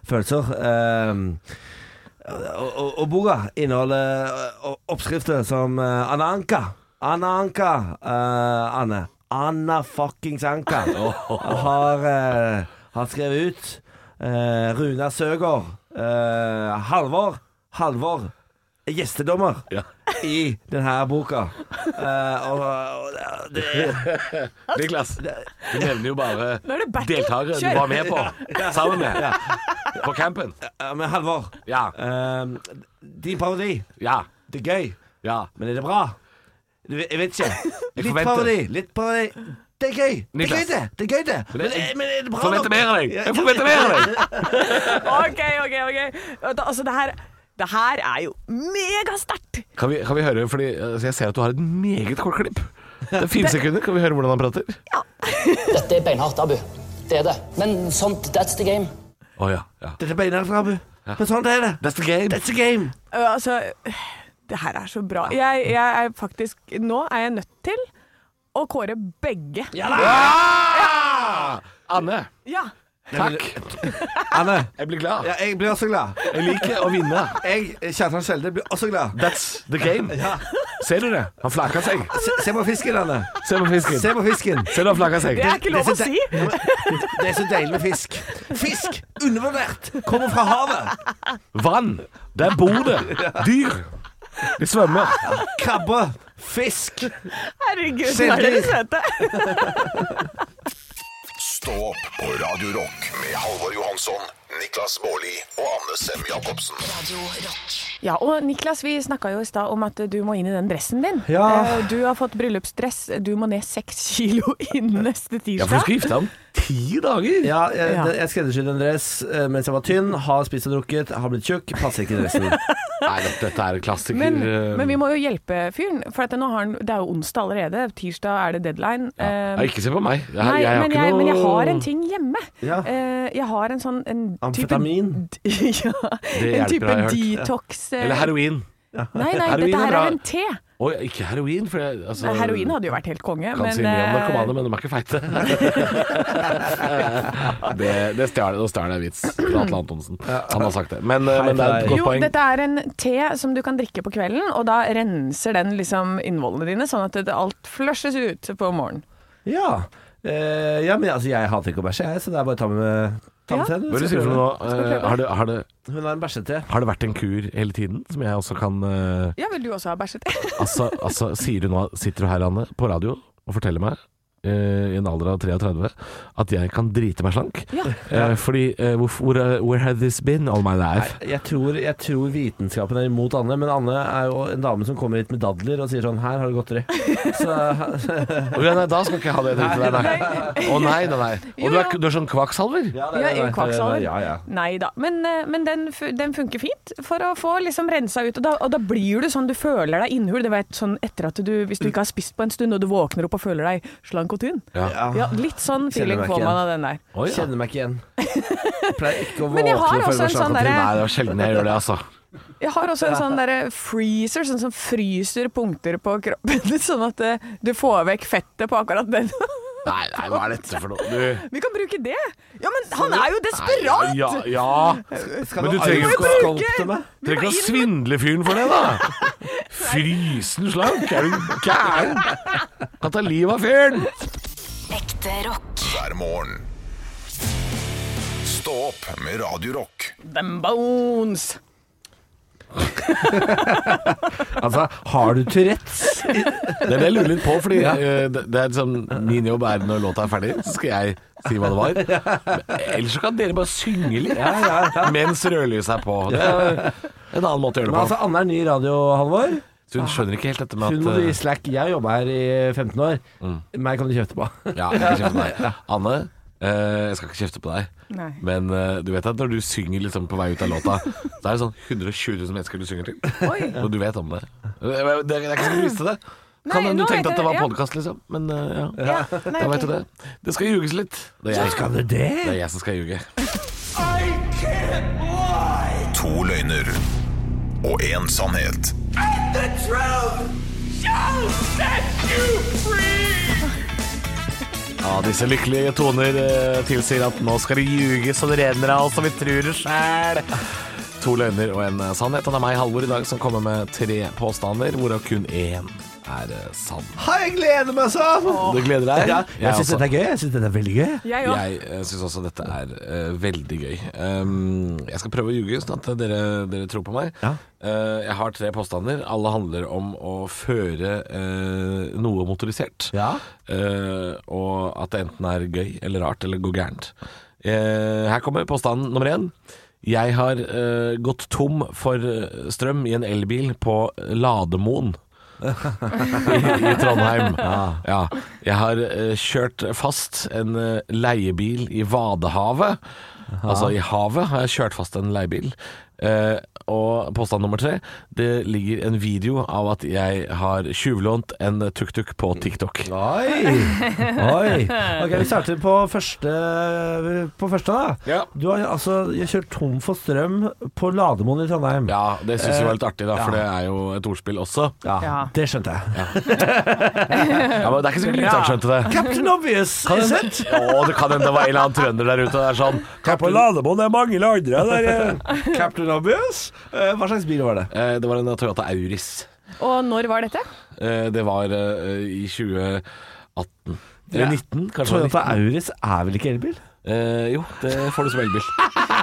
Speaker 5: Følelser. Eh, og, og, og boka inneholder eh, oppskrifter som eh, Anna Anka. Anna Anka, eh, Anne. Anna fuckings Anka har, eh, har skrevet ut. Eh, Runa Søgaard. Eh, Halvor. Halvor. Gjestedommer
Speaker 3: Ja.
Speaker 5: i denne boka. Eh, og, og det,
Speaker 3: Niklas, du nevner jo bare
Speaker 1: er det battle.
Speaker 3: deltakere du
Speaker 1: Kjør.
Speaker 3: var med på, sammen med, på campen.
Speaker 5: ja, men Halvor,
Speaker 3: Ja,
Speaker 5: eh, din parodi,
Speaker 3: ja,
Speaker 5: det er gøy,
Speaker 3: ja.
Speaker 5: men er det bra? Du, jeg vet ikke. Litt
Speaker 3: forventer-
Speaker 5: parodi, litt parodi. Det er gøy, det er gøy
Speaker 3: Niklas.
Speaker 5: det. det, er gøy det. Men, eh,
Speaker 3: jeg-
Speaker 5: men er det bra
Speaker 3: Forventer mer av deg! Jeg forventer mer av deg!
Speaker 1: OK, OK, OK. Da- Altså, det her, det her er jo megasterkt.
Speaker 3: Kan vi, kan vi høre, fordi altså, jeg ser at du har et meget kort klipp. Det er fire sekunder. Kan vi høre hvordan han prater?
Speaker 12: Dette er beinhardt abu. Det er det. Men sånt, that's the game.
Speaker 3: Å ja. ja.
Speaker 5: Dette er beinhardt, Rabu. Men sånn er det.
Speaker 3: That's the game.
Speaker 5: That's a game.
Speaker 1: Ø, Altså, det her er så bra. Jeg, jeg er faktisk Nå er jeg nødt til å kåre begge. Ja!
Speaker 3: Ah! Anne, takk.
Speaker 5: Anne,
Speaker 3: Jeg blir glad.
Speaker 5: ja, jeg blir også glad.
Speaker 3: Jeg liker å vinne.
Speaker 5: Jeg, Kjartan Skjelde, blir også glad.
Speaker 3: That's the game. Ser du det? Han flaker seg.
Speaker 5: Se, se på fisken, Anne.
Speaker 3: Se på fisken.
Speaker 5: Se på fisken.
Speaker 3: Ser du han flaker seg?
Speaker 1: Det er ikke lov å
Speaker 5: Det er så
Speaker 1: si!
Speaker 5: Det er så deilig med fisk. Fisk, undervurdert, kommer fra havet.
Speaker 3: Vann. Der bor det dyr. De svømmer.
Speaker 5: Krabbe, fisk.
Speaker 1: Herregud, nå er dere søte.
Speaker 2: Stå opp på Radio Rock med Halvor Johansson, Niklas Baarli og Anne Sem Jacobsen.
Speaker 7: Radio Rock.
Speaker 4: (laughs) Ja, og Niklas, vi snakka jo i stad om at du må inn i den dressen din.
Speaker 5: Ja.
Speaker 4: Eh, Du har fått bryllupsdress. Du må ned seks kilo innen neste
Speaker 3: Ja, for du
Speaker 4: tirsdag.
Speaker 3: skal gifte deg om ti dager.
Speaker 5: Ja, jeg,
Speaker 4: Ja.
Speaker 5: jeg skreddersydde en dress eh, mens jeg var tynn, har spist og drukket, har blitt tjukk, passer ikke i
Speaker 1: (laughs)
Speaker 5: dressen.
Speaker 3: Nei, dette, dette er en klassiker.
Speaker 4: Men,
Speaker 3: eh,
Speaker 4: men vi må jo hjelpe fyren, for at nå har han, det er jo onsdag allerede. Tirsdag er det deadline. Eh,
Speaker 3: ja, Ikke se på meg. Jeg,
Speaker 4: Nei,
Speaker 3: jeg har
Speaker 4: men,
Speaker 3: ikke
Speaker 4: jeg,
Speaker 3: noe
Speaker 4: men jeg har en ting hjemme.
Speaker 5: Ja.
Speaker 4: Eh, jeg har en sånn en type,
Speaker 5: Amfetamin.
Speaker 4: (laughs) ja,
Speaker 3: hjelper,
Speaker 4: en type
Speaker 3: har jeg
Speaker 4: detox eh,
Speaker 3: Eller heroin.
Speaker 4: Nei, nei,
Speaker 3: Heroin
Speaker 4: dette
Speaker 3: er
Speaker 4: her
Speaker 3: bra.
Speaker 4: er en te.
Speaker 3: Å, ja, ikke heroin, for jeg altså,
Speaker 4: Nei, Heroin hadde jo vært helt konge,
Speaker 3: kan si
Speaker 4: men
Speaker 3: mye om
Speaker 4: eh,
Speaker 3: narkomane, men de er ikke
Speaker 4: (laughs)
Speaker 3: feite. det det stjal nå stjal jeg en vits fra Atle Antonsen. Han har sagt det. Men, eh, men det er et
Speaker 5: Hei,
Speaker 3: godt
Speaker 4: jo,
Speaker 3: poeng.
Speaker 4: dette er en te som du kan drikke på kvelden, og da renser den liksom innvollene dine, sånn at det, alt flushes ut på morgenen.
Speaker 5: Ja. Eh, ja, men altså, jeg hater ikke å bæsje, jeg, så det er bare å ta med ta med
Speaker 4: Ja.
Speaker 5: seg.
Speaker 3: Hva er det du
Speaker 5: Skal
Speaker 3: sier for noe
Speaker 5: prøve.
Speaker 3: nå? Eh, Har det, har, det,
Speaker 5: Hun har en bæsjete.
Speaker 3: har det vært en kur hele tiden, som jeg også kan eh,
Speaker 4: Ja, vil du også ha bæsjet?
Speaker 3: Altså, altså sier du nå, sitter du her, Anne, på radio og forteller meg eh, i en alder av 33 at jeg kan drite meg slank?
Speaker 4: Ja. (laughs)
Speaker 3: Eh, fordi eh, hvor, hvor, Where had this been all my life?
Speaker 5: Jeg tror, jeg tror vitenskapen er imot Anne, men Anne er jo en dame som kommer hit med dadler og sier sånn 'her har du
Speaker 1: (laughs)
Speaker 5: godteri'. Så
Speaker 3: Å, ja, nei, da skal jeg ikke ha det dritet der, nei. Å nei, nei, nei. Og du er, du er sånn kvakksalver?
Speaker 5: ja,
Speaker 4: Ja, i Kvakksalver.
Speaker 5: Ja, ja.
Speaker 4: Nei da, men, eh, men den, fu- den funker fint for å få liksom rensa ut. Og da, og da blir du sånn, du føler deg innhul. Det vet, sånn etter at du, hvis du ikke har spist på en stund, og du våkner opp og føler deg slank og tynn.
Speaker 5: Ja.
Speaker 4: Ja, litt sånn feeling
Speaker 5: Ah, Kjenner meg
Speaker 4: får
Speaker 5: ikke
Speaker 4: man
Speaker 5: igjen.
Speaker 4: av den der.
Speaker 3: Å, ja.
Speaker 5: Kjenner meg ikke
Speaker 3: (laughs)
Speaker 5: igjen. Jeg pleier ikke å
Speaker 4: Men jeg har
Speaker 5: våkne før
Speaker 4: også en sånn
Speaker 5: sånn
Speaker 4: derre-
Speaker 3: Nei, det er sjelden jeg gjør det, altså.
Speaker 4: Jeg har også en sånn derre freezer, sånn som fryser punkter på kroppen, (laughs) sånn at eh, du får vekk fettet på akkurat den. (laughs)
Speaker 3: Nei, nei, hva er dette for noe? Du,
Speaker 4: Vi kan bruke det! Ja, men han er jo
Speaker 3: ja,
Speaker 4: desperat!
Speaker 3: ja, ja. Men du trenger jo
Speaker 5: trenger
Speaker 3: ikke
Speaker 5: å
Speaker 3: å-
Speaker 5: skolpte meg.
Speaker 3: trenger ikke å svindle fyren for det, da. Frysen slank, er du gæren? Kan ta livet av fyren.
Speaker 7: Ekte rock.
Speaker 2: hver morgen. Stå opp med Radio Rock.
Speaker 1: Them bones!
Speaker 5: Altså, har du
Speaker 3: (laughs)
Speaker 5: Tourettes?
Speaker 3: Det er det jeg lurer litt på, fordi eh, det, det er liksom, min jobb er når låta er ferdig, så skal jeg si hva det
Speaker 5: (laughs)
Speaker 3: var. Men Ellers så kan dere bare synge litt mens rødlyset er på. Det er en annen måte å gjøre
Speaker 5: Men
Speaker 3: det
Speaker 5: altså,
Speaker 3: på.
Speaker 5: Anne er ny i radio, Halvor.
Speaker 3: Så hun skjønner ikke helt dette
Speaker 5: Hun
Speaker 3: med
Speaker 5: må
Speaker 3: at
Speaker 5: du
Speaker 3: eh,
Speaker 5: gi
Speaker 3: Mm.
Speaker 5: slack. Jeg har jobba her i 15 år. Meg kan du kjefte på.
Speaker 3: Ja, jeg skal kjefte på deg. Anne, eh, jeg skal ikke kjefte på deg.
Speaker 1: Nei.
Speaker 3: Men eh, du vet at når du synger liksom på vei ut av låta, så er det sånn 120 000 mennesker du synger til.
Speaker 1: Oi.
Speaker 3: Og du vet om det. Det er det er ikke sånn du visste det. Kan
Speaker 1: Nei,
Speaker 3: hende du
Speaker 1: nå vet jeg
Speaker 3: tenkte at det var
Speaker 1: det, ja.
Speaker 3: podkast, liksom. Men eh, ja.
Speaker 1: Ja, nei,
Speaker 3: Da
Speaker 1: ok.
Speaker 3: vet du det. Det skal ljuges litt. Det er jeg,
Speaker 5: (laughs) Skal du det?
Speaker 3: det er jeg som skal ljuge.
Speaker 2: To løgner og én sannhet.
Speaker 3: Ja, disse lykkelige toner eh, tilsier at nå skal det ljuges og det renner av oss, og vi tror det sjæl. To løgner og en eh, sannhet. Og det er meg, Halvor, i dag som kommer med tre påstander, hvorav kun én er eh, sann.
Speaker 5: Ha, jeg gleder meg sånn!
Speaker 3: Du gleder deg? altså.
Speaker 5: Ja, jeg
Speaker 3: Jeg
Speaker 5: syns
Speaker 3: også.
Speaker 5: dette er gøy. Jeg synes dette er veldig gøy.
Speaker 1: Jeg òg.
Speaker 3: Jeg eh, syns også dette er eh, veldig gøy. Um, jeg skal prøve å ljuge, sånn at dere, dere tror på meg.
Speaker 5: Ja.
Speaker 3: Eh, jeg har tre påstander. Alle handler om å føre eh, noe motorisert.
Speaker 5: Ja.
Speaker 3: Eh, og at det enten er gøy eller rart eller går gærent. Eh, her kommer påstand nummer én. Jeg har eh, gått tom for eh, strøm i en elbil på Lademoen
Speaker 5: (laughs)
Speaker 3: i Trondheim. Ja. Jeg har eh, kjørt fast en eh, leiebil i Vadehavet. Altså i havet har jeg kjørt fast en leiebil. Eh, og påstand nummer tre Det ligger en video av at jeg har tjuvlånt en tuk-tuk på TikTok.
Speaker 5: Oi! Oi.
Speaker 3: (laughs)
Speaker 5: Ok, Vi starter på første, på første da.
Speaker 3: Ja.
Speaker 5: Du har altså jeg kjørt tom for strøm på Lademoen i Trondheim.
Speaker 3: Ja, det syns jeg var litt artig, da, for
Speaker 5: Eh, Ja.
Speaker 3: det er jo et ordspill også.
Speaker 5: Ja,
Speaker 1: Ja.
Speaker 5: Det skjønte jeg.
Speaker 3: Ja, men Det er ikke sikkert lytteren skjønte det.
Speaker 5: Captain Obvious, is it?
Speaker 3: Å, det kan hende det var en eller annen trønder der ute og det er sånn
Speaker 5: På Lademoen er mange andre der. eh. (laughs) Captain Obvious? Eh, Hva slags bil var det?
Speaker 3: eh, Det var en Toyota Auris.
Speaker 1: Og når var dette?
Speaker 3: Eh, Det var eh, i 2018 Eller 19, kanskje. det var
Speaker 5: Toyota Auris er vel ikke elbil?
Speaker 3: 19. Eh, jo, det får du som elbil.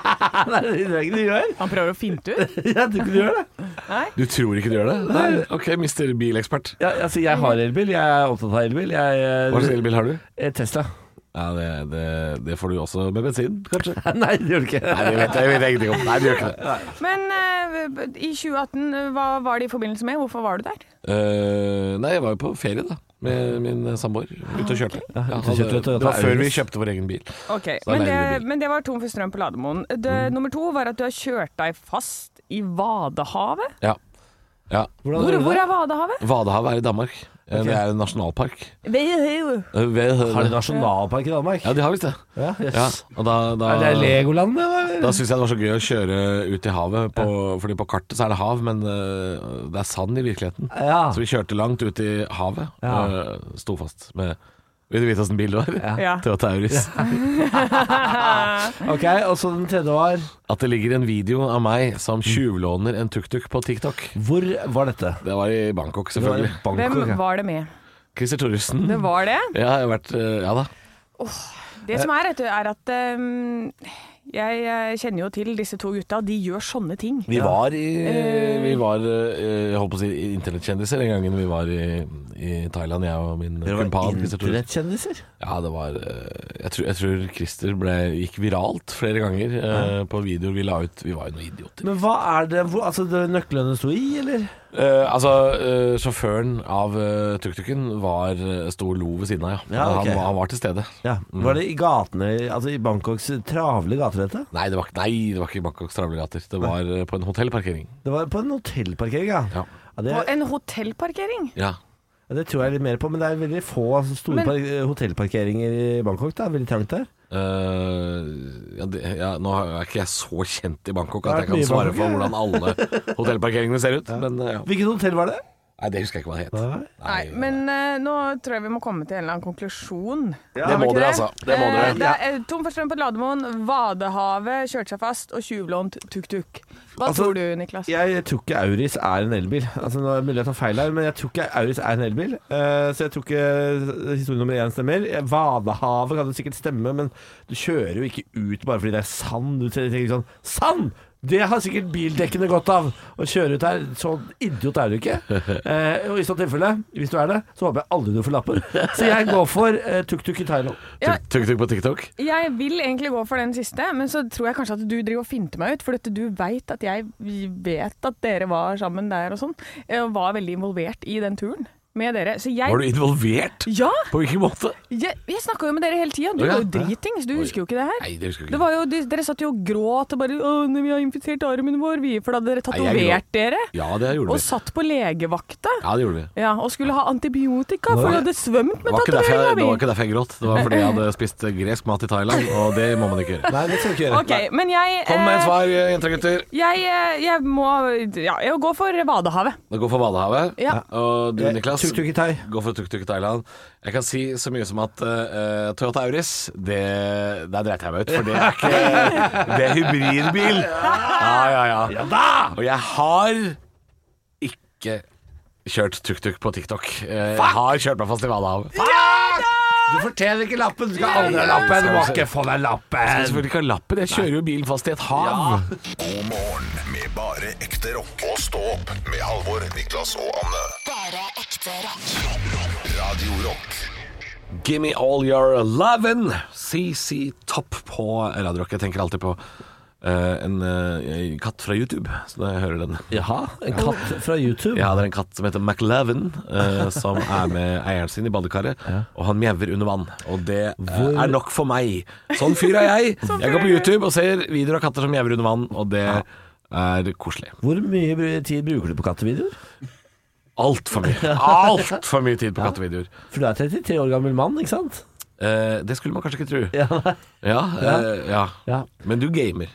Speaker 5: (laughs) Nei, det tror jeg ikke du gjør.
Speaker 1: Han prøver å finte ut.
Speaker 5: Jeg tror ikke du gjør det.
Speaker 3: Du tror ikke du gjør det? Nei, ok, mister bilekspert.
Speaker 5: Ja, altså, jeg har elbil, jeg er opptatt av elbil. Jeg,
Speaker 3: Hva slags elbil har du?
Speaker 5: Eh, Tesla.
Speaker 3: Ja, det, det, det får du også med bensin,
Speaker 5: (laughs)
Speaker 3: kanskje.
Speaker 5: (laughs) Nei, det gjør du ikke.
Speaker 3: Nei, det vet jeg, det vet jeg ingenting om. Nei, det gjør ikke det.
Speaker 1: Men eh, i 2018, hva var det i forbindelse med? Hvorfor var du der?
Speaker 3: Eh, nei, jeg var jo på ferie, da. Med min samboer. Ute og kjørte. Ja,
Speaker 5: ute og kjørte,
Speaker 3: det,
Speaker 5: Toyota
Speaker 3: det var før vi
Speaker 5: Auris.
Speaker 3: kjøpte vår egen bil.
Speaker 1: Ok,
Speaker 3: Så
Speaker 1: men
Speaker 3: det er
Speaker 1: det,
Speaker 3: leiebil.
Speaker 1: men det var tom for strøm på Lademoen. Det, Nummer to var at du har kjørt deg fast i Vadehavet.
Speaker 3: Ja. ja.
Speaker 1: Hvor,
Speaker 5: Hvordan gjorde du
Speaker 1: hvor
Speaker 5: det?
Speaker 1: er Vadehavet?
Speaker 3: Vadehavet er i Danmark. Eh,
Speaker 5: Ok.
Speaker 3: Det er en nasjonalpark.
Speaker 1: Nei,
Speaker 3: Eh, ved-
Speaker 5: Har de nasjonalpark i Danmark?
Speaker 3: Ja, de har visst det.
Speaker 5: Ja, yes.
Speaker 3: Ja, og da, da,
Speaker 5: Er det Legoland, eller?
Speaker 3: da syns jeg det var så gøy å kjøre ut i havet, på, fordi på kartet så er det hav, men eh, det er sand i virkeligheten.
Speaker 5: Ja.
Speaker 3: Så vi kjørte langt ut i havet og
Speaker 5: Ja.
Speaker 3: eh, sto fast med Vil du vite åssen bil (laughs) det var?
Speaker 1: Ja.
Speaker 3: Toyota Auris.
Speaker 5: Ok, og så den tredje var
Speaker 3: At det ligger en video av meg som tjuvlåner en tuk-tuk på TikTok.
Speaker 5: Hvor var dette?
Speaker 3: Det var i Bangkok,
Speaker 5: Det var i
Speaker 3: selvfølgelig.
Speaker 5: Bangkok.
Speaker 1: Hvem
Speaker 5: ja.
Speaker 1: var det med?
Speaker 3: Christer Thoresen.
Speaker 1: Det var det.
Speaker 3: Ja, jeg har vært eh, Ja da.
Speaker 1: Det som er, vet du, er at ehm, jeg eh, kjenner jo til disse to gutta, og de gjør sånne ting.
Speaker 3: Vi var i Vi var eh, Jeg holdt på å si internettkjendiser den gangen vi var i, i Thailand, jeg og min
Speaker 5: Dere var
Speaker 3: kumpan. Christer Thoresen.
Speaker 5: internettkjendiser?
Speaker 3: Ja, det var eh, Jeg tror, jeg tror Christer ble, gikk viralt flere ganger eh, på videoer vi la ut. Vi var jo noen idioter.
Speaker 5: Men hva er det hvor, Altså, det nøklene sto i, eller?
Speaker 3: Eh, altså, eh, sjåføren av eh, tuk-tuken var eh, sto og lo ved siden av, ja.
Speaker 5: Ja, ok.
Speaker 3: han, var- han var til stede.
Speaker 5: Ja. Var det i gatene Altså i Bangkoks travle gater, dette?
Speaker 3: Nei, det var, ikke- nei, det var ikke i Bangkoks travlegater. Det var eh, på en hotellparkering.
Speaker 5: Det var på en hotellparkering, ja.
Speaker 3: Ja.
Speaker 5: det,
Speaker 1: På en hotellparkering.
Speaker 3: Ja.
Speaker 5: ja, det tror jeg litt mer på, men det er veldig få altså, store
Speaker 1: Men-
Speaker 5: par- hotellparkeringer i Bangkok. Det er veldig trangt der.
Speaker 3: Eh, ja, det, ja, nå er ikke jeg så kjent i Bangkok
Speaker 5: Det
Speaker 3: at
Speaker 5: har
Speaker 3: jeg
Speaker 5: vært
Speaker 3: kan
Speaker 5: mye i
Speaker 3: svare
Speaker 5: Bangkok,
Speaker 3: for
Speaker 5: ja. (laughs)
Speaker 3: hvordan alle hotellparkeringene ser ut, men eh, ja.
Speaker 5: Hvilket hotell var det?
Speaker 3: Nei, det husker jeg ikke hva det het.
Speaker 5: Nei.
Speaker 1: Nei, men eh, nå tror jeg vi må komme til en eller annen konklusjon.
Speaker 3: Det må dere, altså. Det må
Speaker 1: Eh,
Speaker 3: dere.
Speaker 1: det er tom for strøm på Lademoen, Vadehavet kjørte seg fast og tjuvlånt tuk-tuk. Hva
Speaker 5: Altså,
Speaker 1: tror du, Niklas?
Speaker 5: Jeg tror ikke Auris er en elbil. Altså, nå er det mulig jeg tar feil her, men jeg tror ikke Auris er en elbil. Eh, så jeg tror ikke historie nummer én stemmer. Eh, Vadehavet kan jo sikkert stemme, men du kjører jo ikke ut bare fordi det er sand. Du tenker ikke sånn Sand! Det har sikkert bildekkene godt av! Å kjøre ut her. Så idiot er du ikke. Eh, og i så tilfelle, hvis du er det, så håper jeg aldri du får lappen. Så jeg går for eh, tuk-tuk i Thailand.
Speaker 1: Ja.
Speaker 3: Tuk- Tuk-tuk på TikTok?
Speaker 1: Jeg vil egentlig gå for den siste, men så tror jeg kanskje at du driver og finter meg ut. For at du veit at jeg vet at dere var sammen der og sånn. Jeg var veldig involvert i den turen med dere. Så jeg
Speaker 3: Var du involvert?
Speaker 1: Ja!
Speaker 3: På hvilken måte?
Speaker 1: Jeg, jeg snakka jo med dere hele tida. Du
Speaker 3: Å, ja.
Speaker 1: var jo dritings. Du husker jo ikke det her.
Speaker 3: Nei, det husker jeg
Speaker 1: Det
Speaker 3: ikke.
Speaker 1: var jo, de, dere satt jo og gråt og bare 'Å, nei, vi har infisert armen vår', vi. For da hadde dere
Speaker 3: Nei, jeg
Speaker 1: tatovert dere.
Speaker 3: Ja, det gjorde
Speaker 1: Og
Speaker 3: vi.
Speaker 1: satt på legevakta.
Speaker 3: Ja, det gjorde vi.
Speaker 1: Ja, Og skulle ha antibiotika, for
Speaker 5: Nei.
Speaker 1: du hadde svømt
Speaker 3: Det
Speaker 1: med
Speaker 3: var, ikke derfor
Speaker 1: tatoveringa
Speaker 3: jeg, det var
Speaker 1: mi.
Speaker 3: ikke derfor jeg gråt. Det var fordi jeg hadde spist gresk mat i Thailand, og det må man ikke gjøre.
Speaker 5: Nei, det skal du ikke gjøre.
Speaker 1: Ok, men jeg
Speaker 3: Kom med et
Speaker 1: eh,
Speaker 3: svar, jenter og gutter.
Speaker 1: Jeg, eh, jeg må ja, jeg gå for Vadehavet.
Speaker 3: Det går for Vadehavet.
Speaker 1: Ja.
Speaker 3: Og du,
Speaker 5: Eh,
Speaker 3: Niklas,
Speaker 5: Tuk-tuk i Thai.
Speaker 3: går for tuk-tuk i Thailand. Jeg kan si så mye som at eh, Toyota Auris, det, der dreit jeg meg ut. For det er
Speaker 1: (laughs)
Speaker 3: ikke Det er hybridbil. Ja, ja, ja. Og jeg har ikke kjørt tuk-tuk på TikTok. Eh, Jeg har kjørt meg fast i Vadehavet.
Speaker 5: Du fortjener ikke lappen! Du skal aldri ha lappen! Du må ikke få deg
Speaker 3: Jeg
Speaker 5: lappen!
Speaker 3: skal selvfølgelig ikke ha lappen. Jeg kjører jo bilen fast i et hav.
Speaker 2: God morgen med bare ekte rock. Og stå opp med Halvor, Niklas og Anne.
Speaker 7: Bare ekte rock.
Speaker 2: Radio Rock
Speaker 3: Gimme all your lovin', CC Topp på Radio Rock. Jeg tenker alltid på eh, en eh, katt fra YouTube så når jeg hører den.
Speaker 5: Jaha, en katt fra YouTube.
Speaker 3: Ja, det er en katt som heter McLavin, eh, som er med eieren sin i badekaret. Og han mjauer under vann, og det eh, er nok for meg. Sånn fyr er jeg. Jeg går på YouTube og ser videoer av katter som mjauer under vann, og det er koselig.
Speaker 5: Hvor mye bru- tid bruker du på kattevideoer?
Speaker 3: Altfor (laughs) mye. Altfor mye tid på kattevideoer.
Speaker 5: For du er 33 år gammel mann, ikke sant?
Speaker 3: Eh, det skulle man kanskje ikke tro.
Speaker 5: Ja,
Speaker 3: Ja, eh, ja.
Speaker 5: Ja.
Speaker 3: Men du gamer.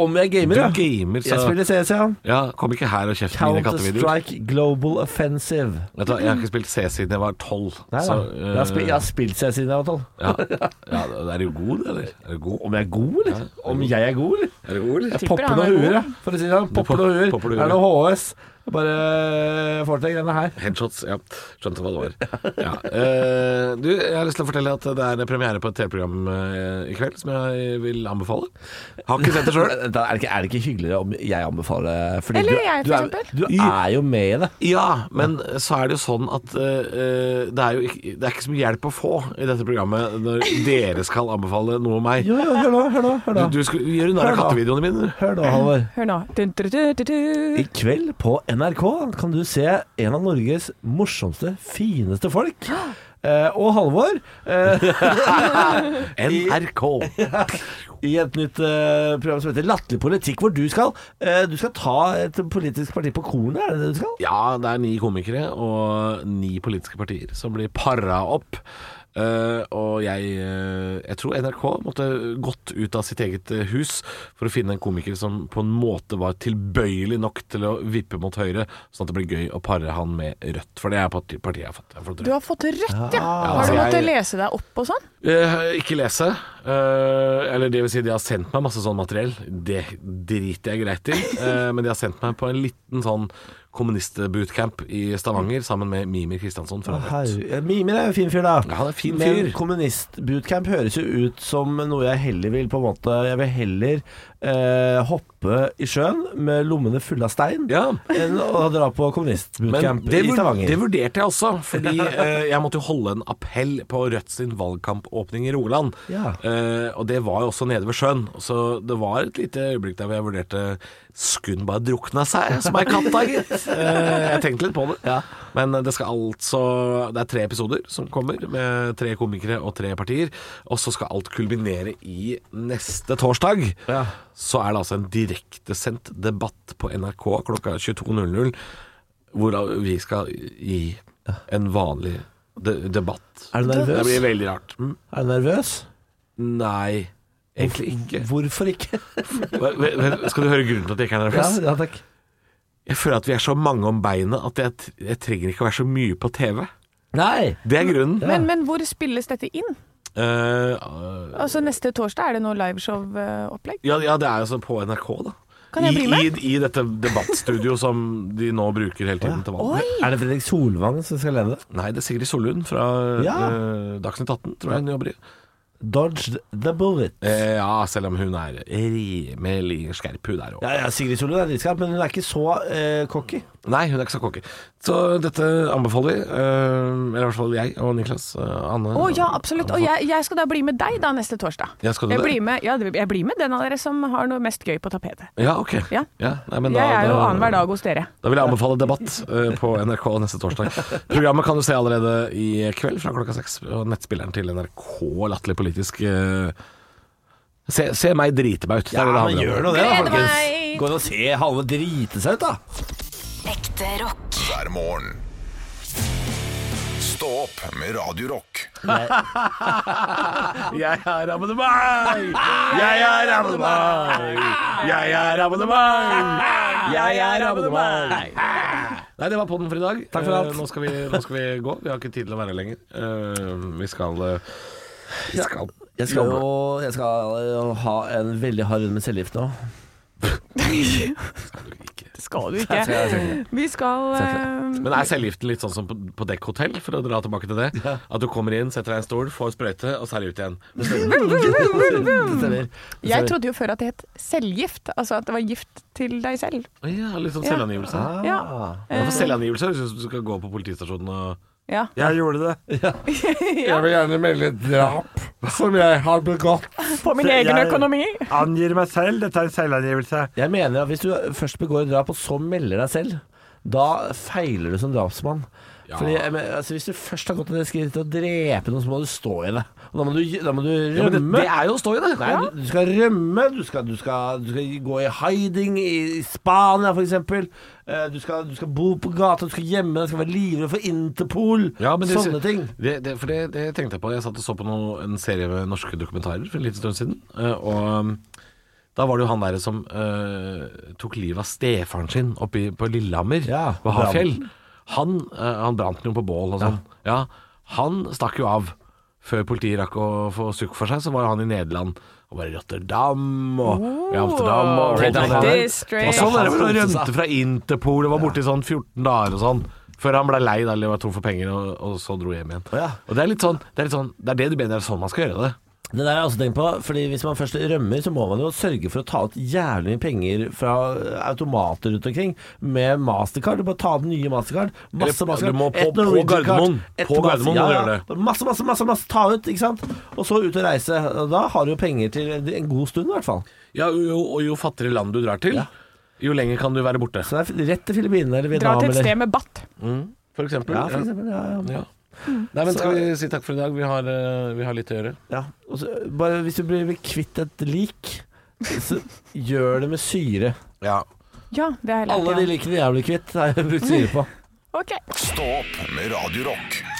Speaker 5: Om jeg
Speaker 3: Du
Speaker 5: gamer, ja.
Speaker 3: gamer, så
Speaker 5: Jeg spiller CS, ja.
Speaker 3: Ja, kom ikke her og kjeft mine kattevideoer.
Speaker 5: Counter-Strike Global Offensive.
Speaker 3: Vet du hva, Jeg har ikke spilt C siden jeg var tolv.
Speaker 5: Nei,
Speaker 3: så,
Speaker 5: da. jeg, har
Speaker 3: eh,
Speaker 5: spilt, jeg har spilt CS siden jeg var 12.
Speaker 3: ja, ja, Er du god, eller? Er du god?
Speaker 5: Om jeg er god, eller? Om jeg er god, eller?
Speaker 3: Er du god, eller?
Speaker 5: Jeg
Speaker 1: Tipper
Speaker 5: popper
Speaker 1: han er
Speaker 5: noen
Speaker 1: god.
Speaker 5: huer, ja. For å si det sånn. Popper
Speaker 3: pop-
Speaker 5: noen huer.
Speaker 3: popper noen
Speaker 5: Det er noe HS. Jeg Bare eh, får til greiene her.
Speaker 3: Headshots, ja. Skjønte hva det var. Ja. Eh, du, jeg har lyst til å fortelle at det er premiere på et TV-program eh, i kveld som jeg vil anbefale. Har ikke sett det sjøl.
Speaker 5: Da er, det ikke, er det ikke hyggeligere om jeg anbefaler det? Fordi
Speaker 1: Eller
Speaker 5: du,
Speaker 1: jeg, for
Speaker 5: du, er,
Speaker 1: eksempel.
Speaker 5: du er jo med i det.
Speaker 3: Ja, men så er det jo sånn at eh, det er jo ikke, det er ikke så mye hjelp å få i dette programmet når dere skal anbefale noe om meg.
Speaker 5: Jo, jo, hør nå, hør nå. Hør
Speaker 3: Du,
Speaker 5: nå,
Speaker 3: du skulle gjøre narr av
Speaker 5: Hør da.
Speaker 3: kattevideoene mine.
Speaker 5: hør nå Halvor.
Speaker 1: Hør nå. Dun, dun, dun, dun, dun.
Speaker 5: I kveld på NRK kan du se en av Norges morsomste, fineste folk. Eh, og Halvor eh,
Speaker 3: NRK.
Speaker 5: i et nytt eh, program som heter Latterlig politikk, hvor du skal, eh, du skal ta et politisk parti på kornet. Er det det du skal?
Speaker 3: Ja, det er ni komikere og ni politiske partier som blir para opp. Eh, og jeg, eh, jeg tror NRK måtte gått ut av sitt eget eh, hus for å finne en komiker som på en måte var tilbøyelig nok til å vippe mot høyre, sånn at det blir gøy å pare han med Rødt. For det er parti- partiet jeg har fått. Jeg har fått
Speaker 1: Du
Speaker 3: rødt.
Speaker 1: har fått rødt, ja.
Speaker 3: altså,
Speaker 1: Har du måttet
Speaker 3: jeg-
Speaker 1: lese deg opp og sånn?
Speaker 3: Eh, ikke lese. Eh, eller det vil si, de har sendt meg masse sånn materiell. Det driter jeg greit i. Eh, men de har sendt meg på en liten sånn kommunistbootcamp i Stavanger sammen med Mimir Kristiansson fra Rødt.
Speaker 5: Herre- Mimir er jo en fin fyr, da.
Speaker 3: Ja, han er en fin
Speaker 5: Men
Speaker 3: fyr.
Speaker 5: kommunistbootcamp høres jo ut som noe jeg heller vil på en måte Jeg vil heller eh, hoppe i sjøen med lommene fulle av stein
Speaker 3: Ja.
Speaker 5: enn å dra på
Speaker 3: Men
Speaker 5: kommunistbootcamp
Speaker 3: det,
Speaker 5: i
Speaker 3: vur-
Speaker 5: Stavanger.
Speaker 3: det vurderte jeg også, fordi eh, jeg måtte jo holde en appell på Rødt sin valgkampåpning i Rogaland.
Speaker 5: Ja.
Speaker 3: Eh, og det var jo også nede ved sjøen, så det var et lite øyeblikk der hvor jeg vurderte Skulle den bare drukna seg, som ei katt, da, gitt. Eh, jeg tenkte litt på det. Men det skal altså Det er tre episoder som kommer, med tre komikere og tre partier. Og så skal alt kulminere i neste torsdag.
Speaker 5: Ja.
Speaker 3: Så er det altså en direktesendt debatt på NRK klokka 22.00 hvor vi skal gi en vanlig de debatt.
Speaker 5: Er du
Speaker 3: Det
Speaker 5: nervøs?
Speaker 3: blir veldig rart. Mm.
Speaker 5: Er du nervøs?
Speaker 3: Nei, egentlig ikke.
Speaker 5: Hvorfor ikke?
Speaker 3: Hva- hva- Skal du høre grunnen til at jeg ikke er
Speaker 5: (laughs) ja,
Speaker 3: nervøs?
Speaker 5: ja, takk.
Speaker 3: Jeg føler at vi er så mange om beinet at jeg, t- jeg trenger ikke å være så mye på TV.
Speaker 5: Nei!
Speaker 3: Det er grunnen.
Speaker 4: Men, men hvor spilles dette inn?
Speaker 3: Eh, eh,
Speaker 4: Altså Neste torsdag er det noe
Speaker 1: eh,
Speaker 4: liveshow-opplegg?
Speaker 3: ja, ja, det er jo sånn på NRK, da.
Speaker 4: Kan
Speaker 3: I,
Speaker 4: jeg bli med?
Speaker 3: I, I dette debattstudio som de nå bruker hele tiden til valg.
Speaker 5: Er det Fredrik Solvang som skal lede det?
Speaker 3: Nei, det er Sigrid Sollund fra
Speaker 5: Ja.
Speaker 3: eh, Dagsnytt 18, tror jeg hun jobber i.
Speaker 5: Dodge the bullet.
Speaker 3: Eh, ja, selv om hun er rimelig skerp, hun der òg.
Speaker 5: Ja, ja, Sigrid Solund er dritskarp, men hun er ikke så eh, cocky.
Speaker 3: Nei, hun er ikke så cocky. Så dette anbefaler vi. eh, eller i hvert fall jeg og Niklas. eh, Anne.
Speaker 4: Å ja, absolutt. Og jeg, jeg skal da bli med deg da neste torsdag.
Speaker 3: Ja, skal du
Speaker 4: jeg,
Speaker 3: det?
Speaker 4: blir med, ja, det- jeg blir med den av dere som har noe mest gøy på tapetet.
Speaker 3: Ja, ok.
Speaker 4: Ja.
Speaker 3: nei, men
Speaker 4: jeg er jo
Speaker 3: da-
Speaker 4: annenhver dag hos dere.
Speaker 3: Da vil jeg anbefale debatt eh, på NRK neste torsdag. Programmet kan du se allerede i kveld fra klokka seks. Og nettspilleren til NRK Latterlig politisk eh, se, se meg drite meg ut. Det er det
Speaker 5: Ja,
Speaker 3: det
Speaker 5: men
Speaker 3: handler om.
Speaker 5: gjør nå det, da,
Speaker 4: Gleder
Speaker 5: folkens.
Speaker 4: meg!
Speaker 5: Gå inn og se Halve drite seg ut, da.
Speaker 7: Ekte rock.
Speaker 2: hver morgen. Stå opp med Radio Rock.
Speaker 3: Jeg er abonnement! Jeg er abonnement! Jeg er abonnement! Jeg er abonnement! Nei, det var podden for i dag.
Speaker 5: Takk for alt.
Speaker 3: Eh, Nå skal vi, nå skal vi gå. Vi har ikke tid til å være her lenger. Eh, vi skal eh, Vi skal,
Speaker 5: Jeg skal jo jeg skal jo ha en veldig hard runde med cellegift nå.
Speaker 4: Det skal du ikke. Vi skal eh,
Speaker 3: Men er selvgiften litt sånn som på, på dekkhotell, for å dra tilbake til det? At du kommer inn, setter deg i en stol, får sprøyte, og så er det ut igjen.
Speaker 4: Jeg trodde jo før at det het selvgift. Altså at det var gift til deg selv.
Speaker 3: Å Ja, litt sånn selvangivelse.
Speaker 5: Ah.
Speaker 4: Ja.
Speaker 3: Ja, for selvangivelse høres ut som du skal gå på politistasjonen og
Speaker 4: ja.
Speaker 3: Jeg gjorde det. Jeg vil gjerne melde et drap som jeg har begått.
Speaker 4: På min egen
Speaker 5: jeg-
Speaker 4: økonomi.
Speaker 3: Angir meg selv. Dette er en selvangivelse.
Speaker 5: Jeg mener at hvis du først begår et drap, og så melder deg selv, da feiler du som drapsmann.
Speaker 3: Ja.
Speaker 5: Fordi, jeg mener, altså, hvis du først har gått til det skritt til å drepe noen, så må du stå i det. Og da må du, da må du rømme.
Speaker 3: men det- det er jo å stå i det.
Speaker 5: Nei,
Speaker 3: Ja.
Speaker 5: du, du skal rømme, du skal, du, skal, du skal gå i hiding i, i Spania f.eks. Du, skal- du skal bo på gata, du skal gjemme deg, du skal være livredd for Interpol. Sånne ting.
Speaker 3: Det, det, for det, det tenkte jeg på. Jeg satt og så på noe, en serie med norske dokumentarer for en liten stund siden. eh, Og um, da var det jo han derre som eh, tok livet av stefaren sin oppe i- på Lillehammer,
Speaker 5: Ja,
Speaker 3: på Hafjell. Han, eh, han brant noe på bål og sånn. Ja. han stakk jo av. Før politiet rakk å få sukk for seg, så var han i Nederland. Og var i Rotterdam og i Amsterdam. Og,
Speaker 5: Red
Speaker 3: og, og,
Speaker 4: District.
Speaker 3: og sånn er det vel å rømte fra Interpol og var borte i sånn 14 dager og sånn. Før han ble lei da, eller var tom for penger, og, og så dro hjem igjen.
Speaker 5: Ja.
Speaker 3: Og det er litt sånn, det er litt sånn Det er det du mener er sånn man skal gjøre det.
Speaker 5: Det der har jeg også tenkt på, fordi hvis man først rømmer, så må man jo sørge for å ta ut jævlig mye penger fra automater rundt omkring med mastercard. Du bare ta den nye mastercard. Masse
Speaker 3: Eller,
Speaker 5: mastercard.
Speaker 3: du må på-
Speaker 5: et
Speaker 3: på
Speaker 5: Norwegian kart,
Speaker 3: Gardermoen.
Speaker 5: et
Speaker 3: På
Speaker 5: masse-
Speaker 3: Gardermoen må du gjøre
Speaker 5: Masse, masse, masse, masse. Ta ut, ikke sant. Og så ut og reise. Og da har du jo penger til en- en god stund, i hvert fall.
Speaker 3: Ja, jo, jo- og jo fattigere land du drar til, jo lenger kan du være borte.
Speaker 5: Så det er rett til Filippinene eller
Speaker 4: Dra
Speaker 5: Vietnam
Speaker 4: til et
Speaker 5: eller
Speaker 4: sted med batt.
Speaker 3: For eksempel.
Speaker 5: Ja, for eksempel. Ja, ja.
Speaker 3: Ja. Nei, men skal vi si takk for i dag? Vi har, eh, vi har litt å gjøre.
Speaker 5: Ja, og så, bare hvis du blir kvitt et lik, så gjør det med syre.
Speaker 3: Ja.
Speaker 4: Ja, det har jeg
Speaker 5: Alle de
Speaker 4: lært. Ja.
Speaker 5: likene jeg blir kvitt, har jeg brukt syre på.
Speaker 4: Ok.
Speaker 2: Stå opp med Radio Rock.